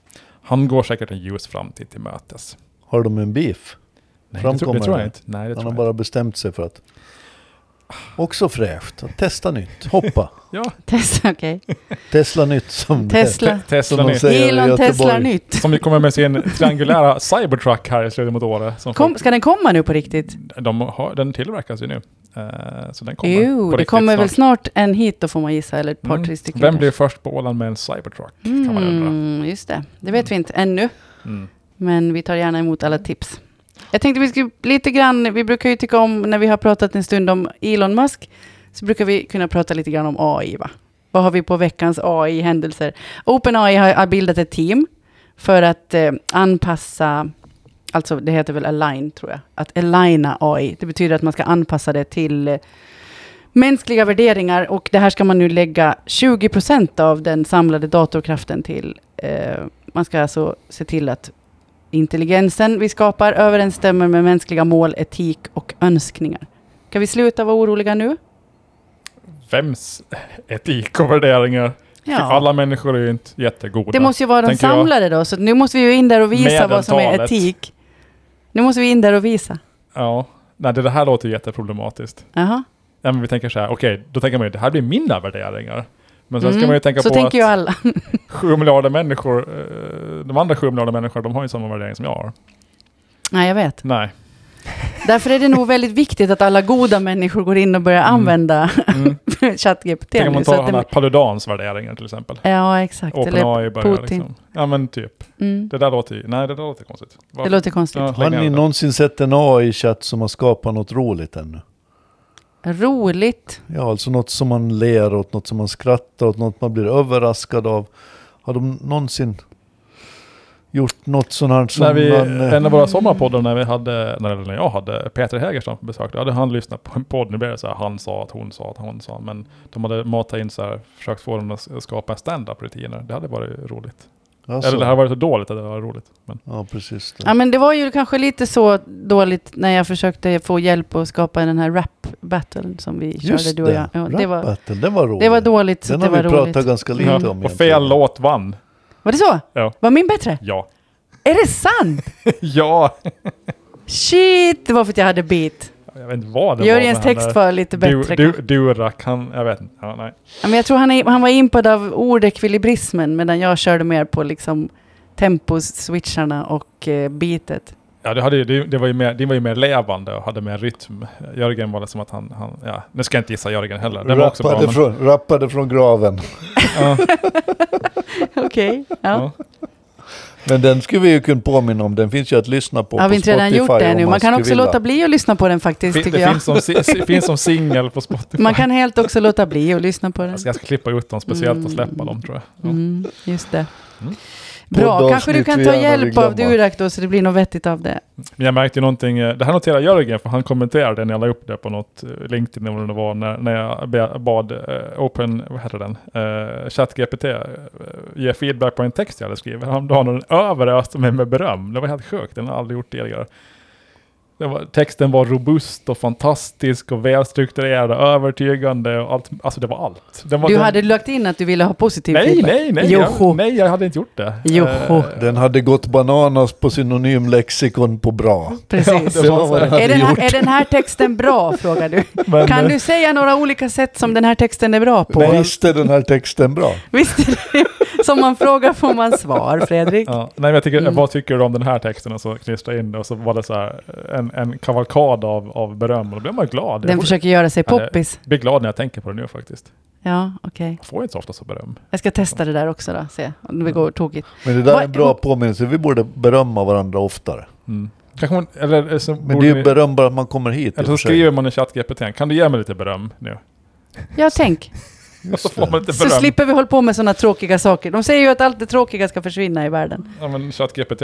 [SPEAKER 2] han går säkert en ljus framtid till mötes.
[SPEAKER 3] Har de en beef?
[SPEAKER 2] Nej, det, tror- det
[SPEAKER 3] Framkommer
[SPEAKER 2] tror jag
[SPEAKER 3] det?
[SPEAKER 2] inte. Nej, det
[SPEAKER 3] Han
[SPEAKER 2] tror
[SPEAKER 3] har
[SPEAKER 2] jag
[SPEAKER 3] bara bestämt sig för att... Också fräscht. Att Testa nytt. Hoppa. *laughs*
[SPEAKER 2] Ja,
[SPEAKER 1] Tesla, okej.
[SPEAKER 3] Tesla nytt som det-
[SPEAKER 1] Tesla.
[SPEAKER 2] Te- Tesla
[SPEAKER 3] Som de
[SPEAKER 2] nytt.
[SPEAKER 3] säger i
[SPEAKER 1] Elon Tesla
[SPEAKER 3] Göteborg.
[SPEAKER 1] nytt.
[SPEAKER 2] Som ju kommer med sin triangulära cybertruck här i slutet mot året. Som
[SPEAKER 1] Kom,
[SPEAKER 2] folk-
[SPEAKER 1] ska den komma nu på riktigt?
[SPEAKER 2] de har, den tillverkas ju nu. Eh, så den kommer på
[SPEAKER 1] Jo, det
[SPEAKER 2] riktigt
[SPEAKER 1] kommer väl
[SPEAKER 2] snart.
[SPEAKER 1] snart en hit då får man gissa, eller ett par,
[SPEAKER 2] Mm.
[SPEAKER 1] tre stycken.
[SPEAKER 2] Vem blir först på Åland med en cybertruck? Kan man ju undra.
[SPEAKER 1] Mm, just det. Det vet vi inte ännu,
[SPEAKER 2] Mm.
[SPEAKER 1] men vi tar gärna emot alla tips. Jag tänkte vi skulle lite grann, vi brukar ju tycka om, när vi har pratat en stund om Elon Musk, så brukar vi kunna prata lite grann om AI, va? Vad har vi på veckans AI-händelser? OpenAI har har bildat ett team för att eh, anpassa, alltså det heter väl align tror jag, att aligna AI. Det betyder att man ska anpassa det till eh, mänskliga värderingar och det här ska man nu lägga 20 procent av den samlade datorkraften till. Eh, man ska alltså se till att intelligensen vi skapar överensstämmer med mänskliga mål, etik och önskningar. Kan vi sluta vara oroliga nu?
[SPEAKER 2] Vems *laughs* etik och värderingar? För Alla människor är ju inte jättegoda.
[SPEAKER 1] Det måste ju vara den
[SPEAKER 2] tänker jag.
[SPEAKER 1] samlade då, så nu måste vi ju in där och visa vad som är
[SPEAKER 2] Medeltalet.
[SPEAKER 1] etik. Nu måste vi in där och visa.
[SPEAKER 2] Ja. Nej, det det här låter ju jätteproblematiskt.
[SPEAKER 1] Jaha.
[SPEAKER 2] Ja, men vi tänker så här, okej, då tänker man ju det här blir mina värderingar. Men sen ska
[SPEAKER 1] Mm.
[SPEAKER 2] man ju tänka
[SPEAKER 1] så
[SPEAKER 2] på att
[SPEAKER 1] tänker ju alla. *laughs*
[SPEAKER 2] 7 miljarder människor, eh, de andra 7 miljarder människor, de har ju samma värdering som jag har.
[SPEAKER 1] Nej, jag vet.
[SPEAKER 2] Nej.
[SPEAKER 1] *laughs* Därför är det nog väldigt viktigt att alla goda människor går in och börjar
[SPEAKER 2] Mm.
[SPEAKER 1] använda *laughs*
[SPEAKER 2] Mm.
[SPEAKER 1] ChatGPT
[SPEAKER 2] Tänk om man
[SPEAKER 1] nu. Så
[SPEAKER 2] tar
[SPEAKER 1] att
[SPEAKER 2] han här
[SPEAKER 1] det,
[SPEAKER 2] Paludans värderingar till exempel.
[SPEAKER 1] ja, exakt. Eller,
[SPEAKER 2] OpenAI börjar
[SPEAKER 1] Putin.
[SPEAKER 2] liksom. Ja men typ.
[SPEAKER 1] mm,
[SPEAKER 2] Det där låter ju, nej det där låter konstigt. Varför-
[SPEAKER 1] det låter konstigt.
[SPEAKER 2] Ja,
[SPEAKER 3] Har
[SPEAKER 2] lägg ner
[SPEAKER 3] ni
[SPEAKER 2] det.
[SPEAKER 3] någonsin sett en AI-chatt som har skapat något roligt ännu?
[SPEAKER 1] Roligt.
[SPEAKER 3] Ja, alltså något som man ler åt, något som man skrattar åt, något man blir överraskad av. Har de någonsin gjort något sånt här som
[SPEAKER 2] när vi,
[SPEAKER 3] man... eh,
[SPEAKER 2] en av våra sommarpoddar när vi hade, när, eller när jag hade Peter Hägerstrand på besök, då hade han lyssnat på en podd, nu blev det så här, han sa att hon sa att hon sa, men de hade matat in så här, försökt få dem att skapa en stand-up-rutiner, det hade varit roligt.
[SPEAKER 3] alltså,
[SPEAKER 2] Eller det hade varit så dåligt att det var roligt. Men,
[SPEAKER 3] Ja, precis. Det.
[SPEAKER 1] Ja, men det var ju kanske lite så dåligt när jag försökte få hjälp att skapa den här rap-battlen som vi körde,
[SPEAKER 3] Just
[SPEAKER 1] du och
[SPEAKER 3] det,
[SPEAKER 1] jag. Ja, det, var,
[SPEAKER 3] Rap-battle, den var rolig.
[SPEAKER 1] det var dåligt, så
[SPEAKER 3] Den
[SPEAKER 1] det
[SPEAKER 3] har
[SPEAKER 1] var
[SPEAKER 3] vi pratat
[SPEAKER 1] roligt.
[SPEAKER 3] ganska lite
[SPEAKER 2] ja,
[SPEAKER 3] om.
[SPEAKER 2] och
[SPEAKER 3] egentligen.
[SPEAKER 2] fel låt vann.
[SPEAKER 1] Var det så?
[SPEAKER 2] Ja.
[SPEAKER 1] Var min bättre?
[SPEAKER 3] *laughs*
[SPEAKER 2] Ja.
[SPEAKER 1] Är det sant?
[SPEAKER 2] ja.
[SPEAKER 1] Shit, det var för att jag hade beat.
[SPEAKER 2] Jag vet inte vad det
[SPEAKER 1] Jörgens
[SPEAKER 2] var. med
[SPEAKER 1] text
[SPEAKER 2] den där.
[SPEAKER 1] var lite bättre.
[SPEAKER 2] Du,
[SPEAKER 1] kanske.
[SPEAKER 2] du, Durak, han, jag vet inte. Ja, nej.
[SPEAKER 1] Ja, men jag tror han, är, han var impad av ordekvilibrismen medan jag körde mer på liksom temposwitcharna och eh,
[SPEAKER 2] *laughs*
[SPEAKER 1] beatet.
[SPEAKER 2] Ja, det, hade, ju- det, det, var ju mer, det var ju mer levande och hade mer rytm. Jörgen var det som att han, han ja, nu ska jag inte gissa Jörgen heller. Den var också bra.
[SPEAKER 3] Rappade,
[SPEAKER 2] men-
[SPEAKER 3] från, rappade från graven.
[SPEAKER 2] Ja.
[SPEAKER 1] Okej. Ja.
[SPEAKER 2] Ja.
[SPEAKER 3] Men den skulle vi ju kunna påminna om. Den finns ju att lyssna på
[SPEAKER 1] Har
[SPEAKER 3] på
[SPEAKER 1] vi inte
[SPEAKER 3] Spotify
[SPEAKER 1] redan gjort det
[SPEAKER 3] om
[SPEAKER 1] nu? Man kan
[SPEAKER 3] skulle
[SPEAKER 1] också
[SPEAKER 3] vilja.
[SPEAKER 1] låta bli att lyssna på den faktiskt,
[SPEAKER 2] Fin,
[SPEAKER 1] tycker
[SPEAKER 2] det
[SPEAKER 1] jag.
[SPEAKER 2] finns som,
[SPEAKER 1] *laughs*
[SPEAKER 2] si- si- finns som singel på Spotify.
[SPEAKER 1] Man kan helt också låta bli att lyssna på den.
[SPEAKER 2] Jag ska, jag ska klippa ut dem speciellt och släppa
[SPEAKER 1] Mm.
[SPEAKER 2] dem tror jag. Ja.
[SPEAKER 1] Mm, just det.
[SPEAKER 2] Mm.
[SPEAKER 1] Bra, kanske du
[SPEAKER 3] Poddavsnitt
[SPEAKER 1] kan
[SPEAKER 3] vi
[SPEAKER 1] ta
[SPEAKER 3] gärna vill
[SPEAKER 1] hjälp av
[SPEAKER 3] glömma.
[SPEAKER 1] Durak då så det blir något vettigt av det.
[SPEAKER 2] Men jag märkte ju någonting, eh, det här noterar Jörgen för han kommenterade när jag la upp det på något eh, LinkedIn eller vad det var när, när jag be- bad eh, Open, vad heter den, uh, ChatGPT eh, ge feedback på en text jag hade skrivit häromdagen och den överöste mig med beröm. Det var helt sjukt, den har jag aldrig gjort tidigare. Det var, texten var robust och fantastisk och välstrukturerad och övertygande och allt, alltså det var allt. Den var,
[SPEAKER 1] Du
[SPEAKER 2] den,
[SPEAKER 1] hade lagt in att du ville ha positiv
[SPEAKER 2] Nej,
[SPEAKER 1] feedback.
[SPEAKER 2] nej, nej.
[SPEAKER 1] Joho.
[SPEAKER 2] Jag, nej, jag hade inte gjort det.
[SPEAKER 1] Joho.
[SPEAKER 2] Eh,
[SPEAKER 3] Den hade gått bananas på synonymlexikon på bra.
[SPEAKER 1] Precis.
[SPEAKER 2] Ja, det var så här.
[SPEAKER 1] är, den här, är den här texten bra, frågar du.
[SPEAKER 2] *laughs* Men,
[SPEAKER 1] Kan
[SPEAKER 2] eh,
[SPEAKER 1] du säga några olika sätt som den här texten är bra på?
[SPEAKER 3] Men Visst är den här texten bra?
[SPEAKER 1] Visst är det? Som man frågar får man svar, Fredrik.
[SPEAKER 2] Ja, nej, men jag tycker,
[SPEAKER 1] Mm.
[SPEAKER 2] Vad tycker du om den här texten? Och så klistra in det och så var det så här en, en kavalkad av, av beröm och då blev man glad.
[SPEAKER 1] Den
[SPEAKER 2] Jag
[SPEAKER 1] försöker göra sig
[SPEAKER 2] Ja, det-
[SPEAKER 1] poppis.
[SPEAKER 2] blir glad när jag tänker på det nu faktiskt.
[SPEAKER 1] Ja, okej.
[SPEAKER 2] Jag får inte så ofta så beröm.
[SPEAKER 1] Jag ska testa det där också då, se om det går tokigt.
[SPEAKER 3] Men det där är
[SPEAKER 1] Vad-
[SPEAKER 3] en bra påminnelse. Vi borde berömma varandra oftare.
[SPEAKER 2] Mm. Kanske man, eller, eller så
[SPEAKER 3] Men
[SPEAKER 2] borde
[SPEAKER 3] det är
[SPEAKER 2] ni-
[SPEAKER 3] ju beröm bara att man kommer hit.
[SPEAKER 2] eller
[SPEAKER 3] i och
[SPEAKER 2] så
[SPEAKER 3] för sig.
[SPEAKER 2] skriver man i ChatGPT, kan du ge mig lite beröm nu?
[SPEAKER 1] Ja, tänk.
[SPEAKER 2] *laughs* Och *laughs* så
[SPEAKER 3] Just
[SPEAKER 2] får
[SPEAKER 3] det.
[SPEAKER 2] man lite
[SPEAKER 1] Så
[SPEAKER 2] beröm.
[SPEAKER 1] slipper vi hålla på med sådana tråkiga saker. De säger ju att allt det tråkiga ska försvinna i världen.
[SPEAKER 2] Ja, men ChatGPT,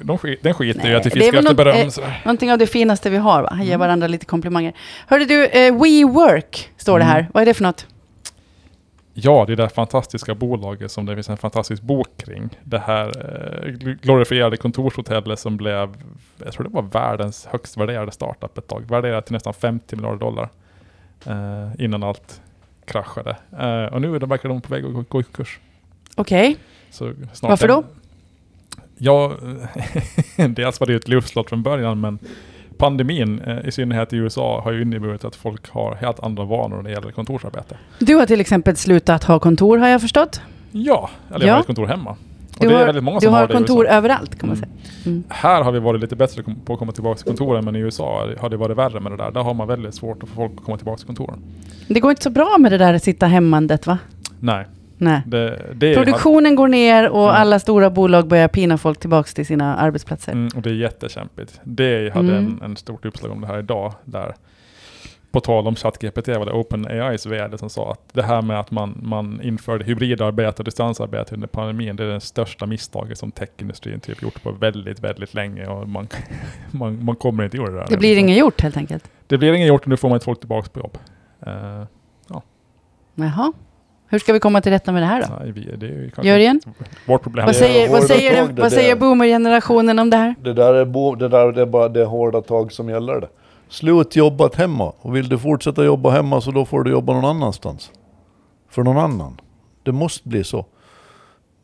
[SPEAKER 2] de sk- den skiter ju i
[SPEAKER 1] Nej,
[SPEAKER 2] att det
[SPEAKER 1] det är
[SPEAKER 2] fiskar
[SPEAKER 1] väl
[SPEAKER 2] efter
[SPEAKER 1] något- eh,
[SPEAKER 2] beröm. sådär.
[SPEAKER 1] Någonting av det finaste vi har, va?
[SPEAKER 2] Mm.
[SPEAKER 1] Ge varandra lite komplimanger. Hörde du, eh, WeWork står det
[SPEAKER 2] Mm.
[SPEAKER 1] här. Vad är det för något?
[SPEAKER 2] Ja, det är det här fantastiska bolaget som det finns en fantastisk bok kring. Det här eh, gl- glorifierade kontorshotellet som blev, jag tror det var världens högst värderade startup ett tag, värderat till nästan 50 miljarder dollar eh, innan allt kraschade. Eh, och nu är de- verkar de på väg att gå, gå i konkurs.
[SPEAKER 1] Okej.
[SPEAKER 2] Så snart
[SPEAKER 1] Varför då?
[SPEAKER 2] *laughs* Ja, dels var det ju ett luftslott från början, men pandemin, eh, i synnerhet i USA, har ju inneburit att folk har helt andra vanor när det gäller kontorsarbete.
[SPEAKER 1] Du har till exempel slutat ha kontor har jag förstått.
[SPEAKER 2] Ja, eller jag
[SPEAKER 1] Ja.
[SPEAKER 2] har ett kontor hemma. Och
[SPEAKER 1] Du
[SPEAKER 2] det är
[SPEAKER 1] har-
[SPEAKER 2] väldigt många
[SPEAKER 1] Du
[SPEAKER 2] som har,
[SPEAKER 1] har
[SPEAKER 2] det i USA. Mm.
[SPEAKER 1] kontor överallt kan man säga. Mm.
[SPEAKER 2] Här har vi varit lite bättre kom- på att komma tillbaka till kontoren, men i USA har det varit värre med det där. Där har man väldigt svårt att få folk att komma tillbaka till kontoren.
[SPEAKER 1] Det går inte så bra med det där sitta hemmandet va?
[SPEAKER 2] Nej,
[SPEAKER 1] Nej.
[SPEAKER 2] det, det, är,
[SPEAKER 1] Produktionen går ner och
[SPEAKER 2] Ja.
[SPEAKER 1] alla stora bolag börjar pina folk tillbaka till sina arbetsplatser.
[SPEAKER 2] mm, och det är jättekämpigt. Det hade
[SPEAKER 1] Mm.
[SPEAKER 2] en, en stort uppslag om det här idag, där på tal om ChatGPT var det OpenAIs vd som sa att det här med att man, man införde hybridarbete och distansarbete under pandemin, det är det största misstaget som techindustrin typ gjort på väldigt, väldigt länge och man, *laughs* man, man kommer inte göra det där.
[SPEAKER 1] Det
[SPEAKER 2] nu.
[SPEAKER 1] blir
[SPEAKER 2] Så
[SPEAKER 1] inget gjort helt enkelt.
[SPEAKER 2] det blir inget gjort och nu får man inte folk tillbaka på jobb. Eh,
[SPEAKER 1] Jaha. Hur ska vi komma till rätta med det här då?
[SPEAKER 2] Nej, vi, det är ju kanske
[SPEAKER 1] Jörgen?
[SPEAKER 2] inte vårt problem.
[SPEAKER 1] Vad
[SPEAKER 3] det är
[SPEAKER 1] säger, vad
[SPEAKER 3] hårda
[SPEAKER 1] säger,
[SPEAKER 3] tag
[SPEAKER 1] den-
[SPEAKER 3] det
[SPEAKER 1] vad
[SPEAKER 3] där.
[SPEAKER 1] säger boomergenerationen om det här?
[SPEAKER 3] Det där är, bo, det där, det är bara det hårda tag som gäller det. Slut jobbat hemma. Och vill du fortsätta jobba hemma så då får du jobba någon annanstans. För någon annan. Det måste bli så.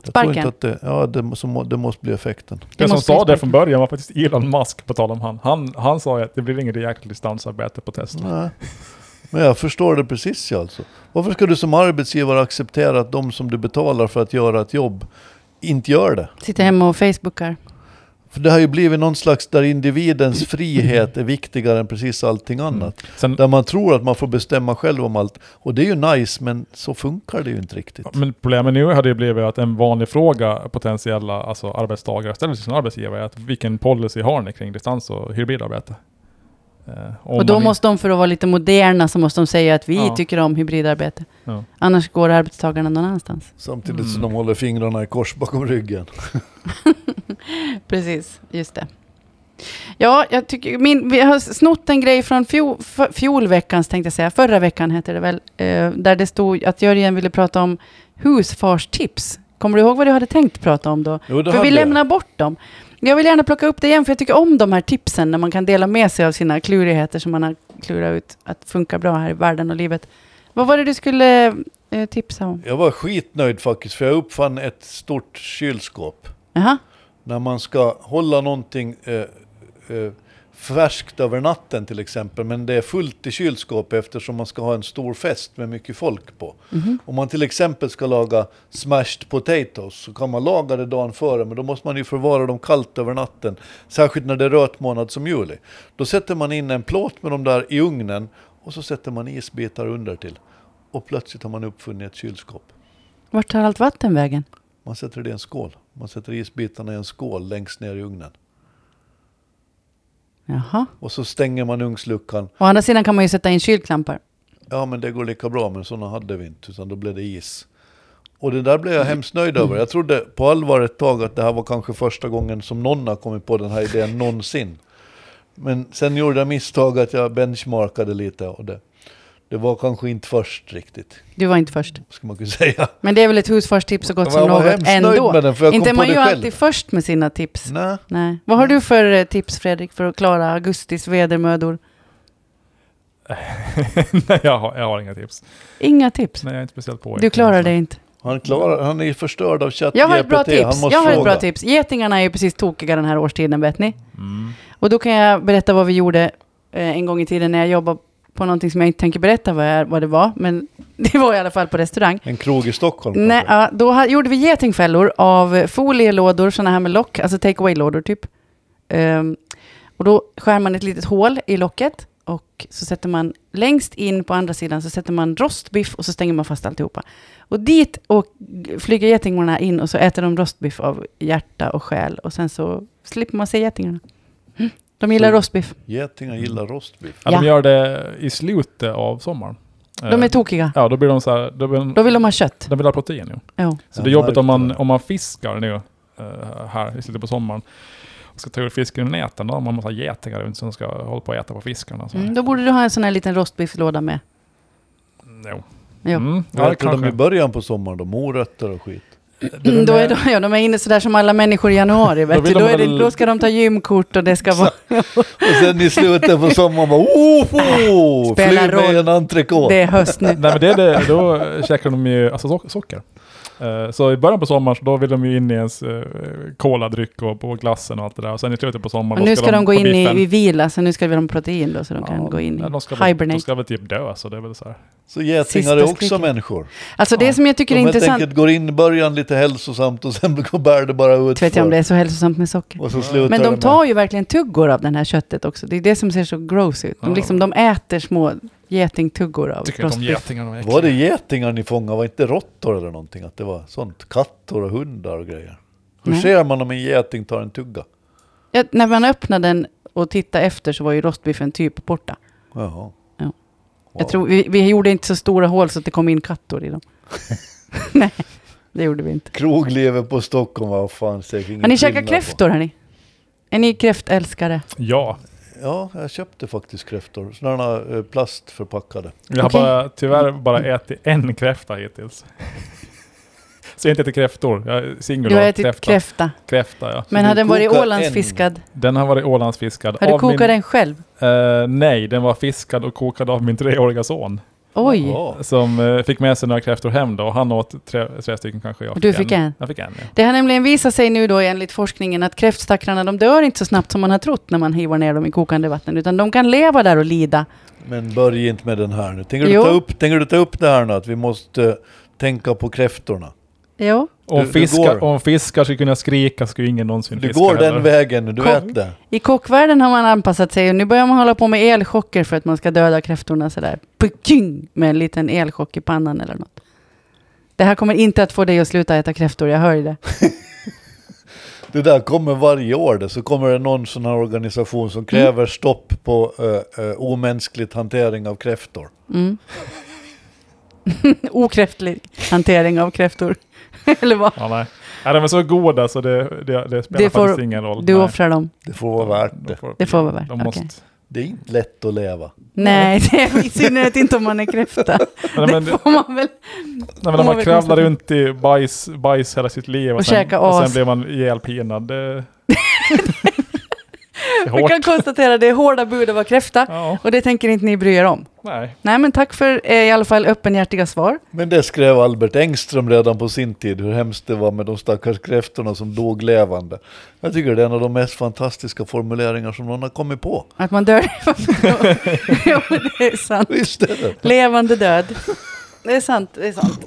[SPEAKER 3] Jag tror
[SPEAKER 1] Sparken.
[SPEAKER 3] inte att det, ja, det, må- så må, det måste bli effekten.
[SPEAKER 2] Den som
[SPEAKER 1] måste vi
[SPEAKER 2] sa det
[SPEAKER 1] sparka.
[SPEAKER 2] från början var faktiskt Elon Musk, på tal om han. Han, han sa ju att det blir inget jäkla distansarbete på Tesla.
[SPEAKER 3] Nej. Men jag förstår det precis ja, alltså. Varför ska du som arbetsgivare acceptera att de som du betalar för att göra ett jobb inte gör det?
[SPEAKER 1] Sitter hemma och facebookar.
[SPEAKER 3] För det har ju blivit någon slags där individens frihet är viktigare än precis allting annat.
[SPEAKER 2] Mm. Sen,
[SPEAKER 3] Där man tror att man får bestämma själv om allt. Och det är ju nice, men så funkar det ju inte riktigt.
[SPEAKER 2] men problemet nu hade ju blivit att en vanlig fråga potentiella alltså arbetstagare ställer till sin arbetsgivare är att vilken policy har ni kring distans och hybridarbete? Eh, om
[SPEAKER 1] och då
[SPEAKER 2] man in-
[SPEAKER 1] måste de, för att vara lite moderna, så måste de säga att vi
[SPEAKER 2] Ja.
[SPEAKER 1] tycker om hybridarbete.
[SPEAKER 2] Ja.
[SPEAKER 1] Annars går arbetstagarna någon annanstans.
[SPEAKER 3] Samtidigt som de håller fingrarna i kors bakom ryggen.
[SPEAKER 1] Precis, just det. Ja, jag tycker, min, vi har snott en grej från fjol, f- fjolveckans, tänkte jag säga. Förra veckan hette det väl. Eh, där det stod att Jörgen ville prata om husfarstips. Kommer du ihåg vad du hade tänkt prata om då?
[SPEAKER 3] Jo, det
[SPEAKER 1] För
[SPEAKER 3] hade
[SPEAKER 1] vi
[SPEAKER 3] jag.
[SPEAKER 1] lämnar bort dem. Jag vill gärna plocka upp det igen, för jag tycker om de här tipsen när man kan dela med sig av sina klurigheter som man har klurat ut att funkar bra här i världen och livet. Vad var det du skulle eh, tipsa om?
[SPEAKER 3] Jag var skitnöjd faktiskt, för jag uppfann ett stort kylskåp.
[SPEAKER 1] Jaha,
[SPEAKER 3] när man ska hålla någonting eh, eh, färskt över natten till exempel, men det är fullt i kylskåpet eftersom man ska ha en stor fest med mycket folk på.
[SPEAKER 1] Mhm.
[SPEAKER 3] Om man till exempel ska laga smashed potatoes så kan man laga det dagen före, men då måste man ju förvara dem kallt över natten, särskilt när det är röt månad som juli. Då sätter man in en plåt med dem där i ugnen och så sätter man isbitar under till. Och plötsligt har man uppfunnit ett kylskåp.
[SPEAKER 1] vart tar allt vatten vägen?
[SPEAKER 3] Man sätter det i en skål. Man sätter isbitarna i en skål längst ner i ugnen.
[SPEAKER 1] Jaha.
[SPEAKER 3] Och så stänger man ugnsluckan.
[SPEAKER 1] Å andra sidan kan man ju sätta in kylklampar.
[SPEAKER 3] Ja, men det går lika bra, men sådana hade vi inte, utan då blev det is. Och det där blev jag hemskt nöjd över. Jag trodde på allvar ett tag att det här var kanske första gången som någon har kommit på den
[SPEAKER 1] *laughs*
[SPEAKER 3] här idén någonsin. Men sen gjorde jag misstag att jag benchmarkade lite och det, det var kanske inte först riktigt,
[SPEAKER 1] Du var inte först.
[SPEAKER 3] ska man kunna säga.
[SPEAKER 1] Men det är väl ett husfarstips så gott
[SPEAKER 3] Jag
[SPEAKER 1] som
[SPEAKER 3] var
[SPEAKER 1] något
[SPEAKER 3] hemskt nöjd
[SPEAKER 1] ändå.
[SPEAKER 3] med den, för jag kom
[SPEAKER 1] inte är
[SPEAKER 3] på
[SPEAKER 1] man
[SPEAKER 3] det
[SPEAKER 1] ju
[SPEAKER 3] själv. Mm.
[SPEAKER 1] alltid först med sina tips.
[SPEAKER 3] Nej.
[SPEAKER 1] Nej. Vad har du för eh, tips Fredrik för att klara augustis vädermödor?
[SPEAKER 2] *laughs* Nej, jag, har, jag har inga tips.
[SPEAKER 1] Inga tips.
[SPEAKER 2] Nej, jag är inte speciellt på
[SPEAKER 1] Du klarar det inte.
[SPEAKER 3] Han, klarar, han är förstörd av ChatGPT.
[SPEAKER 1] Jag har ett bra
[SPEAKER 3] Han
[SPEAKER 1] tips.
[SPEAKER 3] måste
[SPEAKER 1] Jag har ett
[SPEAKER 3] fråga.
[SPEAKER 1] bra tips. Getingarna är ju precis tokiga den här årstiden, vet ni.
[SPEAKER 2] Mm.
[SPEAKER 1] Och då kan jag berätta vad vi gjorde eh, en gång i tiden när jag jobbade på någonting som jag inte tänker berätta vad, jag, vad det var, men *laughs* det var i alla fall på restaurang.
[SPEAKER 3] En krog i Stockholm
[SPEAKER 1] Nej,
[SPEAKER 3] kanske.
[SPEAKER 1] ja, då ha, gjorde vi getingfällor av eh, folielådor, sådana här med lock, alltså take away-lådor typ. Ehm, och då skär man ett litet hål i locket och så sätter man längst in på andra sidan så sätter man rostbiff och så stänger man fast alltihopa. Och dit och g- flyger getingarna in och så äter de rostbiff av hjärta och själ och sen så slipper man se getingarna. Mm. De gillar
[SPEAKER 3] Så-
[SPEAKER 1] rostbiff.
[SPEAKER 3] Getingar gillar rostbiff.
[SPEAKER 2] Ja, De
[SPEAKER 1] Ja.
[SPEAKER 2] gör det i slutet av sommaren.
[SPEAKER 1] De
[SPEAKER 2] Eh,
[SPEAKER 1] är tokiga.
[SPEAKER 2] Ja, då blir de så här, då blir de,
[SPEAKER 1] Då vill de ha kött.
[SPEAKER 2] de vill ha protein ju.
[SPEAKER 1] Ja.
[SPEAKER 2] Så
[SPEAKER 3] Jag
[SPEAKER 2] det är jobbigt om man,
[SPEAKER 3] märkte det.
[SPEAKER 2] om man fiskar nu eh, här i slutet på sommaren och ska ta ur fisken ur näten. Då har man massa getingar runt som ska hålla på och äta på fiskarna. Så.
[SPEAKER 1] Mm, då borde du ha en sån här liten rostbifflåda med.
[SPEAKER 2] No.
[SPEAKER 1] Jo.
[SPEAKER 2] Mm,
[SPEAKER 3] Vad
[SPEAKER 2] ja,
[SPEAKER 3] äter de
[SPEAKER 2] kanske.
[SPEAKER 3] i början på sommaren då? Morötter och skit.
[SPEAKER 1] Mm, då är de, ja, de är inne sådär som alla människor i januari.
[SPEAKER 2] Då
[SPEAKER 1] Vet
[SPEAKER 2] vill
[SPEAKER 1] du? Då,
[SPEAKER 2] de
[SPEAKER 1] är det,
[SPEAKER 2] väl-
[SPEAKER 1] då ska de ta gymkort och det ska vara...
[SPEAKER 3] Och sen i slutet på sommaren bara oh, oh, flyg
[SPEAKER 1] Spelar
[SPEAKER 3] med
[SPEAKER 1] roll.
[SPEAKER 3] en
[SPEAKER 2] *laughs*
[SPEAKER 3] entrecote.
[SPEAKER 1] Det är höst nu.
[SPEAKER 2] Nej men det är det, då käkar de ju alltså sock- socker. Eh, Så i början på sommaren, så då vill de ju in i ens eh, koladryck och på glassen och allt det där. Och sen i slutet på sommaren,
[SPEAKER 1] Och nu ska de gå
[SPEAKER 2] på
[SPEAKER 1] in i,
[SPEAKER 2] biffen.
[SPEAKER 1] i vila, så nu ska vi ha protein då, så de kan
[SPEAKER 2] Ja,
[SPEAKER 1] gå in i
[SPEAKER 2] nej, de ska väl,
[SPEAKER 1] hibernate.
[SPEAKER 2] de ska väl typ dö, så det är väl så här.
[SPEAKER 3] Så getingar
[SPEAKER 1] Sista
[SPEAKER 3] är också
[SPEAKER 1] skriket.
[SPEAKER 3] människor.
[SPEAKER 1] Alltså det
[SPEAKER 2] Ja.
[SPEAKER 1] som jag tycker
[SPEAKER 3] De
[SPEAKER 1] är
[SPEAKER 3] helt
[SPEAKER 1] intressant,
[SPEAKER 3] enkelt går in i början lite hälsosamt och sen *laughs* går- bär det bara ut
[SPEAKER 1] vet jag om det är så hälsosamt med socker.
[SPEAKER 3] Och så slutar
[SPEAKER 1] Men
[SPEAKER 3] det
[SPEAKER 1] de
[SPEAKER 3] med-
[SPEAKER 1] tar ju verkligen tuggor av det här köttet också. Det är det som ser så gross ut. De,
[SPEAKER 2] Ja.
[SPEAKER 1] liksom, de äter små getingtuggor av
[SPEAKER 2] Tycker inte om
[SPEAKER 1] rostbiff.
[SPEAKER 2] getingar, de är
[SPEAKER 3] Var det
[SPEAKER 2] äckliga.
[SPEAKER 3] getingar ni fångade? Var inte råttor eller någonting? Att det var sånt? Kattor och hundar och grejer. Hur
[SPEAKER 1] Nej.
[SPEAKER 3] ser man om en geting tar en tugga?
[SPEAKER 1] Ja, när man öppnade den och tittade efter så var ju rostbiffen typ borta.
[SPEAKER 3] Jaha.
[SPEAKER 1] Ja.
[SPEAKER 3] Wow.
[SPEAKER 1] Jag tror, vi, vi gjorde inte så stora hål så att det kom in kattor i dem. Nej, det gjorde vi inte.
[SPEAKER 3] Kroglever på Stockholm, vad fan säkert ingen
[SPEAKER 1] Har ni käkat
[SPEAKER 3] skillnad
[SPEAKER 1] kräftor hörni? Är ni kräftälskare?
[SPEAKER 2] Ja,
[SPEAKER 3] På. Ja, jag köpte faktiskt kräftor. Sådana eh, plastförpackade.
[SPEAKER 2] jag har
[SPEAKER 1] Okej.
[SPEAKER 2] bara, tyvärr bara ätit en kräfta hittills. *laughs* så jag har inte ätit kräftor, jag är singel
[SPEAKER 1] Du har
[SPEAKER 2] och
[SPEAKER 1] ätit kräfta.
[SPEAKER 2] kräfta. Kräfta, ja.
[SPEAKER 1] Men
[SPEAKER 3] du
[SPEAKER 1] hade den varit
[SPEAKER 3] kokar
[SPEAKER 1] Ålandsfiskad?
[SPEAKER 2] Den har varit ålandsfiskad.
[SPEAKER 1] Har du
[SPEAKER 2] av
[SPEAKER 1] kokat
[SPEAKER 2] min,
[SPEAKER 1] den själv?
[SPEAKER 2] Eh, nej, den var fiskad och kokad av min treåriga son.
[SPEAKER 1] Oj!
[SPEAKER 3] Ja.
[SPEAKER 2] Som eh, fick med sig några kräftor hem då. Han åt tre, tre stycken kanske. Jag
[SPEAKER 1] Och du fick en?
[SPEAKER 2] Jag fick en, ja.
[SPEAKER 1] Det har nämligen visat sig nu då enligt forskningen att kräftstackarna de dör inte så snabbt som man har trott när man hivar ner dem i kokande vatten utan de kan leva där och lida.
[SPEAKER 3] Men börja inte med den här nu. Tänker du,
[SPEAKER 1] Jo.
[SPEAKER 3] ta upp, tänker du ta upp det här nu? Att vi måste eh, tänka på kräftorna.
[SPEAKER 1] Jo.
[SPEAKER 2] Om,
[SPEAKER 3] Du- du
[SPEAKER 2] fiskar,
[SPEAKER 3] går.
[SPEAKER 2] om fiskar skulle kunna skrika skulle ingen någonsin
[SPEAKER 3] Du
[SPEAKER 2] fiska.
[SPEAKER 3] går den
[SPEAKER 2] heller.
[SPEAKER 3] vägen nu, du
[SPEAKER 1] Kom.
[SPEAKER 3] vet det.
[SPEAKER 1] I kockvärlden har man anpassat sig och nu börjar man hålla på med elchocker för att man ska döda kräftorna sådär. Puking! Med en liten elchock i pannan eller något. Det här kommer inte att få dig att sluta äta kräftor, jag hör ju det.
[SPEAKER 3] Det där kommer varje år, det, så kommer det någon sån här organisation som kräver
[SPEAKER 1] Mm.
[SPEAKER 3] stopp på uh, omänskligt hantering av kräftor.
[SPEAKER 1] Mm. *laughs* Okräftlig hantering av kräftor. *laughs* eller vad?
[SPEAKER 2] Ja, nej. nej, de är så goda så det, det, det spelar
[SPEAKER 1] Det får-
[SPEAKER 2] faktiskt ingen roll.
[SPEAKER 1] Du
[SPEAKER 2] nej.
[SPEAKER 1] offrar dem.
[SPEAKER 3] Det får vara värt
[SPEAKER 2] De
[SPEAKER 3] det.
[SPEAKER 2] får-
[SPEAKER 1] Det får vara värt,
[SPEAKER 2] de
[SPEAKER 1] okej.
[SPEAKER 2] måste-
[SPEAKER 3] Det är inte lätt att leva.
[SPEAKER 1] Nej, det är i synnerhet inte om man är kräfta.
[SPEAKER 2] Nej, men,
[SPEAKER 1] Det får man väl.
[SPEAKER 2] nej, men om
[SPEAKER 1] man
[SPEAKER 2] man
[SPEAKER 1] vill
[SPEAKER 2] kravlar
[SPEAKER 1] konstatera.
[SPEAKER 2] runt i bajs, bajs hela sitt liv och,
[SPEAKER 1] Och
[SPEAKER 2] sen,
[SPEAKER 1] käka
[SPEAKER 2] och sen
[SPEAKER 1] as.
[SPEAKER 2] blir man ihjälpinad.
[SPEAKER 1] *laughs*
[SPEAKER 2] Det, det är
[SPEAKER 1] Vi
[SPEAKER 2] hårt.
[SPEAKER 1] kan konstatera det är hårda bud att vara kräfta.
[SPEAKER 2] Ja,
[SPEAKER 1] Och det tänker inte ni bry er om.
[SPEAKER 2] nej.
[SPEAKER 1] Nej, men tack för eh, i alla fall öppenhjärtiga svar.
[SPEAKER 3] Men det skrev Albert Engström redan på sin tid, hur hemskt det var med de stackars kräftorna som dog levande. Jag tycker det är en av de mest fantastiska formuleringar som någon har kommit på.
[SPEAKER 1] Att man dör. *laughs* jo, det är sant.
[SPEAKER 3] Visst är det?
[SPEAKER 1] Levande död. Det är sant, det är sant.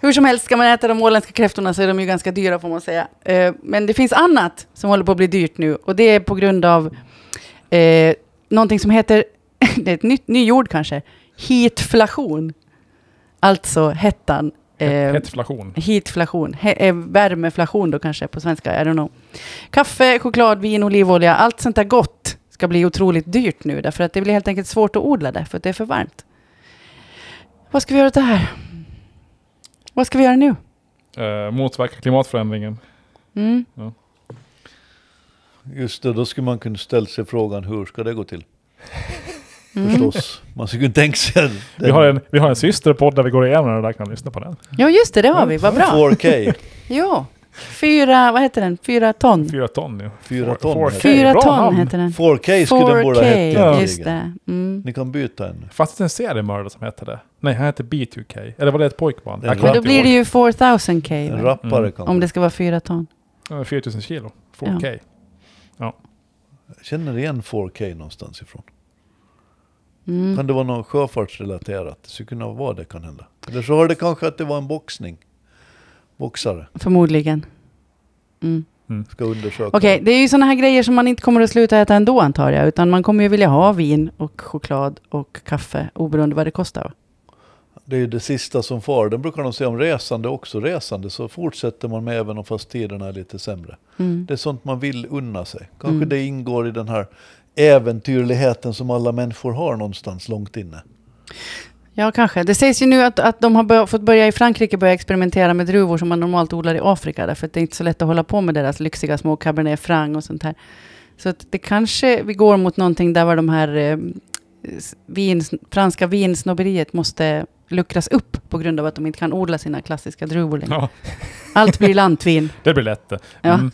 [SPEAKER 1] Hur som helst, ska man äta de åländska kräftorna så är de ju ganska dyra får man säga. Eh, Men det finns annat som håller på att bli dyrt nu och det är på grund av eh, någonting som heter, *laughs* det är ett nytt, nyord kanske, heatflation. Alltså hettan. eh,
[SPEAKER 2] Hetflation.
[SPEAKER 1] Heatflation, he- eh, värmeflation då kanske på svenska, I don't know. Kaffe, choklad, vin, olivolja, allt sånt där gott ska bli otroligt dyrt nu därför att det blir helt enkelt svårt att odla det för att det är för varmt. Vad ska vi göra åt det här? Vad ska vi göra nu?
[SPEAKER 2] Eh, motverka klimatförändringen.
[SPEAKER 1] Mm.
[SPEAKER 3] Just det, då skulle man kunna ställa sig frågan hur ska det gå till?
[SPEAKER 1] Mm.
[SPEAKER 3] Förstås. Man skulle kunna tänka sig... den-
[SPEAKER 2] Vi har, en, vi har en systerpodd där vi går igenom det där, kan lyssna på den.
[SPEAKER 1] Ja just det, det har vi, vad bra.
[SPEAKER 3] 4K,
[SPEAKER 1] Jo, fyra, vad heter den, fyra ton.
[SPEAKER 2] Fyra ton nu.
[SPEAKER 3] Fyra
[SPEAKER 2] Four-
[SPEAKER 3] ton
[SPEAKER 2] four
[SPEAKER 3] heter
[SPEAKER 2] K.
[SPEAKER 1] Fyra
[SPEAKER 2] Bra
[SPEAKER 1] ton
[SPEAKER 2] namn.
[SPEAKER 1] heter den.
[SPEAKER 3] 4K skulle den borde ha hett
[SPEAKER 1] 4K,
[SPEAKER 2] Ja.
[SPEAKER 1] just
[SPEAKER 3] egentligen.
[SPEAKER 1] det. Mm.
[SPEAKER 3] Ni kan byta en.
[SPEAKER 2] Fanns det en seriemördare som hette det? Nej, han hette B2K. Eller var det ett pojkband?
[SPEAKER 3] Det
[SPEAKER 2] Jag
[SPEAKER 3] är
[SPEAKER 1] Men
[SPEAKER 2] kommer
[SPEAKER 1] då
[SPEAKER 2] inte
[SPEAKER 1] blir det
[SPEAKER 2] ihåg.
[SPEAKER 1] ju 4000 K,
[SPEAKER 3] En
[SPEAKER 1] väl?
[SPEAKER 3] rappare
[SPEAKER 2] Mm.
[SPEAKER 3] kan
[SPEAKER 1] om det ska vara fyra ton.
[SPEAKER 2] Eh, 4000 kilo. 4K.
[SPEAKER 3] Jag känner igen 4K någonstans ifrån.
[SPEAKER 1] Mm.
[SPEAKER 3] Kan det vara något sjöfartsrelaterat? Det skulle kunna vara det kan hända. Eller så har det kanske att det var en boxning. Boxare.
[SPEAKER 1] Förmodligen. Mm.
[SPEAKER 3] Ska undersöka.
[SPEAKER 1] Okej, det är ju sådana här grejer som man inte kommer att sluta äta ändå antar jag, utan man kommer ju vilja ha vin och choklad och kaffe oberoende vad det kostar. va?
[SPEAKER 3] Det är ju det sista som far. Den brukar de säga om resande också. Resande så fortsätter man med även om fast tiderna är lite sämre.
[SPEAKER 1] Mm.
[SPEAKER 3] Det är sånt man vill unna sig. Kanske
[SPEAKER 1] Mm.
[SPEAKER 3] det ingår i den här äventyrligheten som alla människor har någonstans långt inne.
[SPEAKER 1] Ja, kanske. Det sägs ju nu att, att de har bör- fått börja i Frankrike börja experimentera med druvor som man normalt odlar i Afrika, därför att det är inte så lätt att hålla på med deras lyxiga små cabernet franc och sånt här. Så att det kanske vi går mot någonting där var de här eh, s- vin, franska vinsnobberiet måste luckras upp på grund av att de inte kan odla sina klassiska druvor längre.
[SPEAKER 2] Ja.
[SPEAKER 1] Allt blir lantvin.
[SPEAKER 2] Det blir lätt.
[SPEAKER 1] Ja,
[SPEAKER 2] Mm.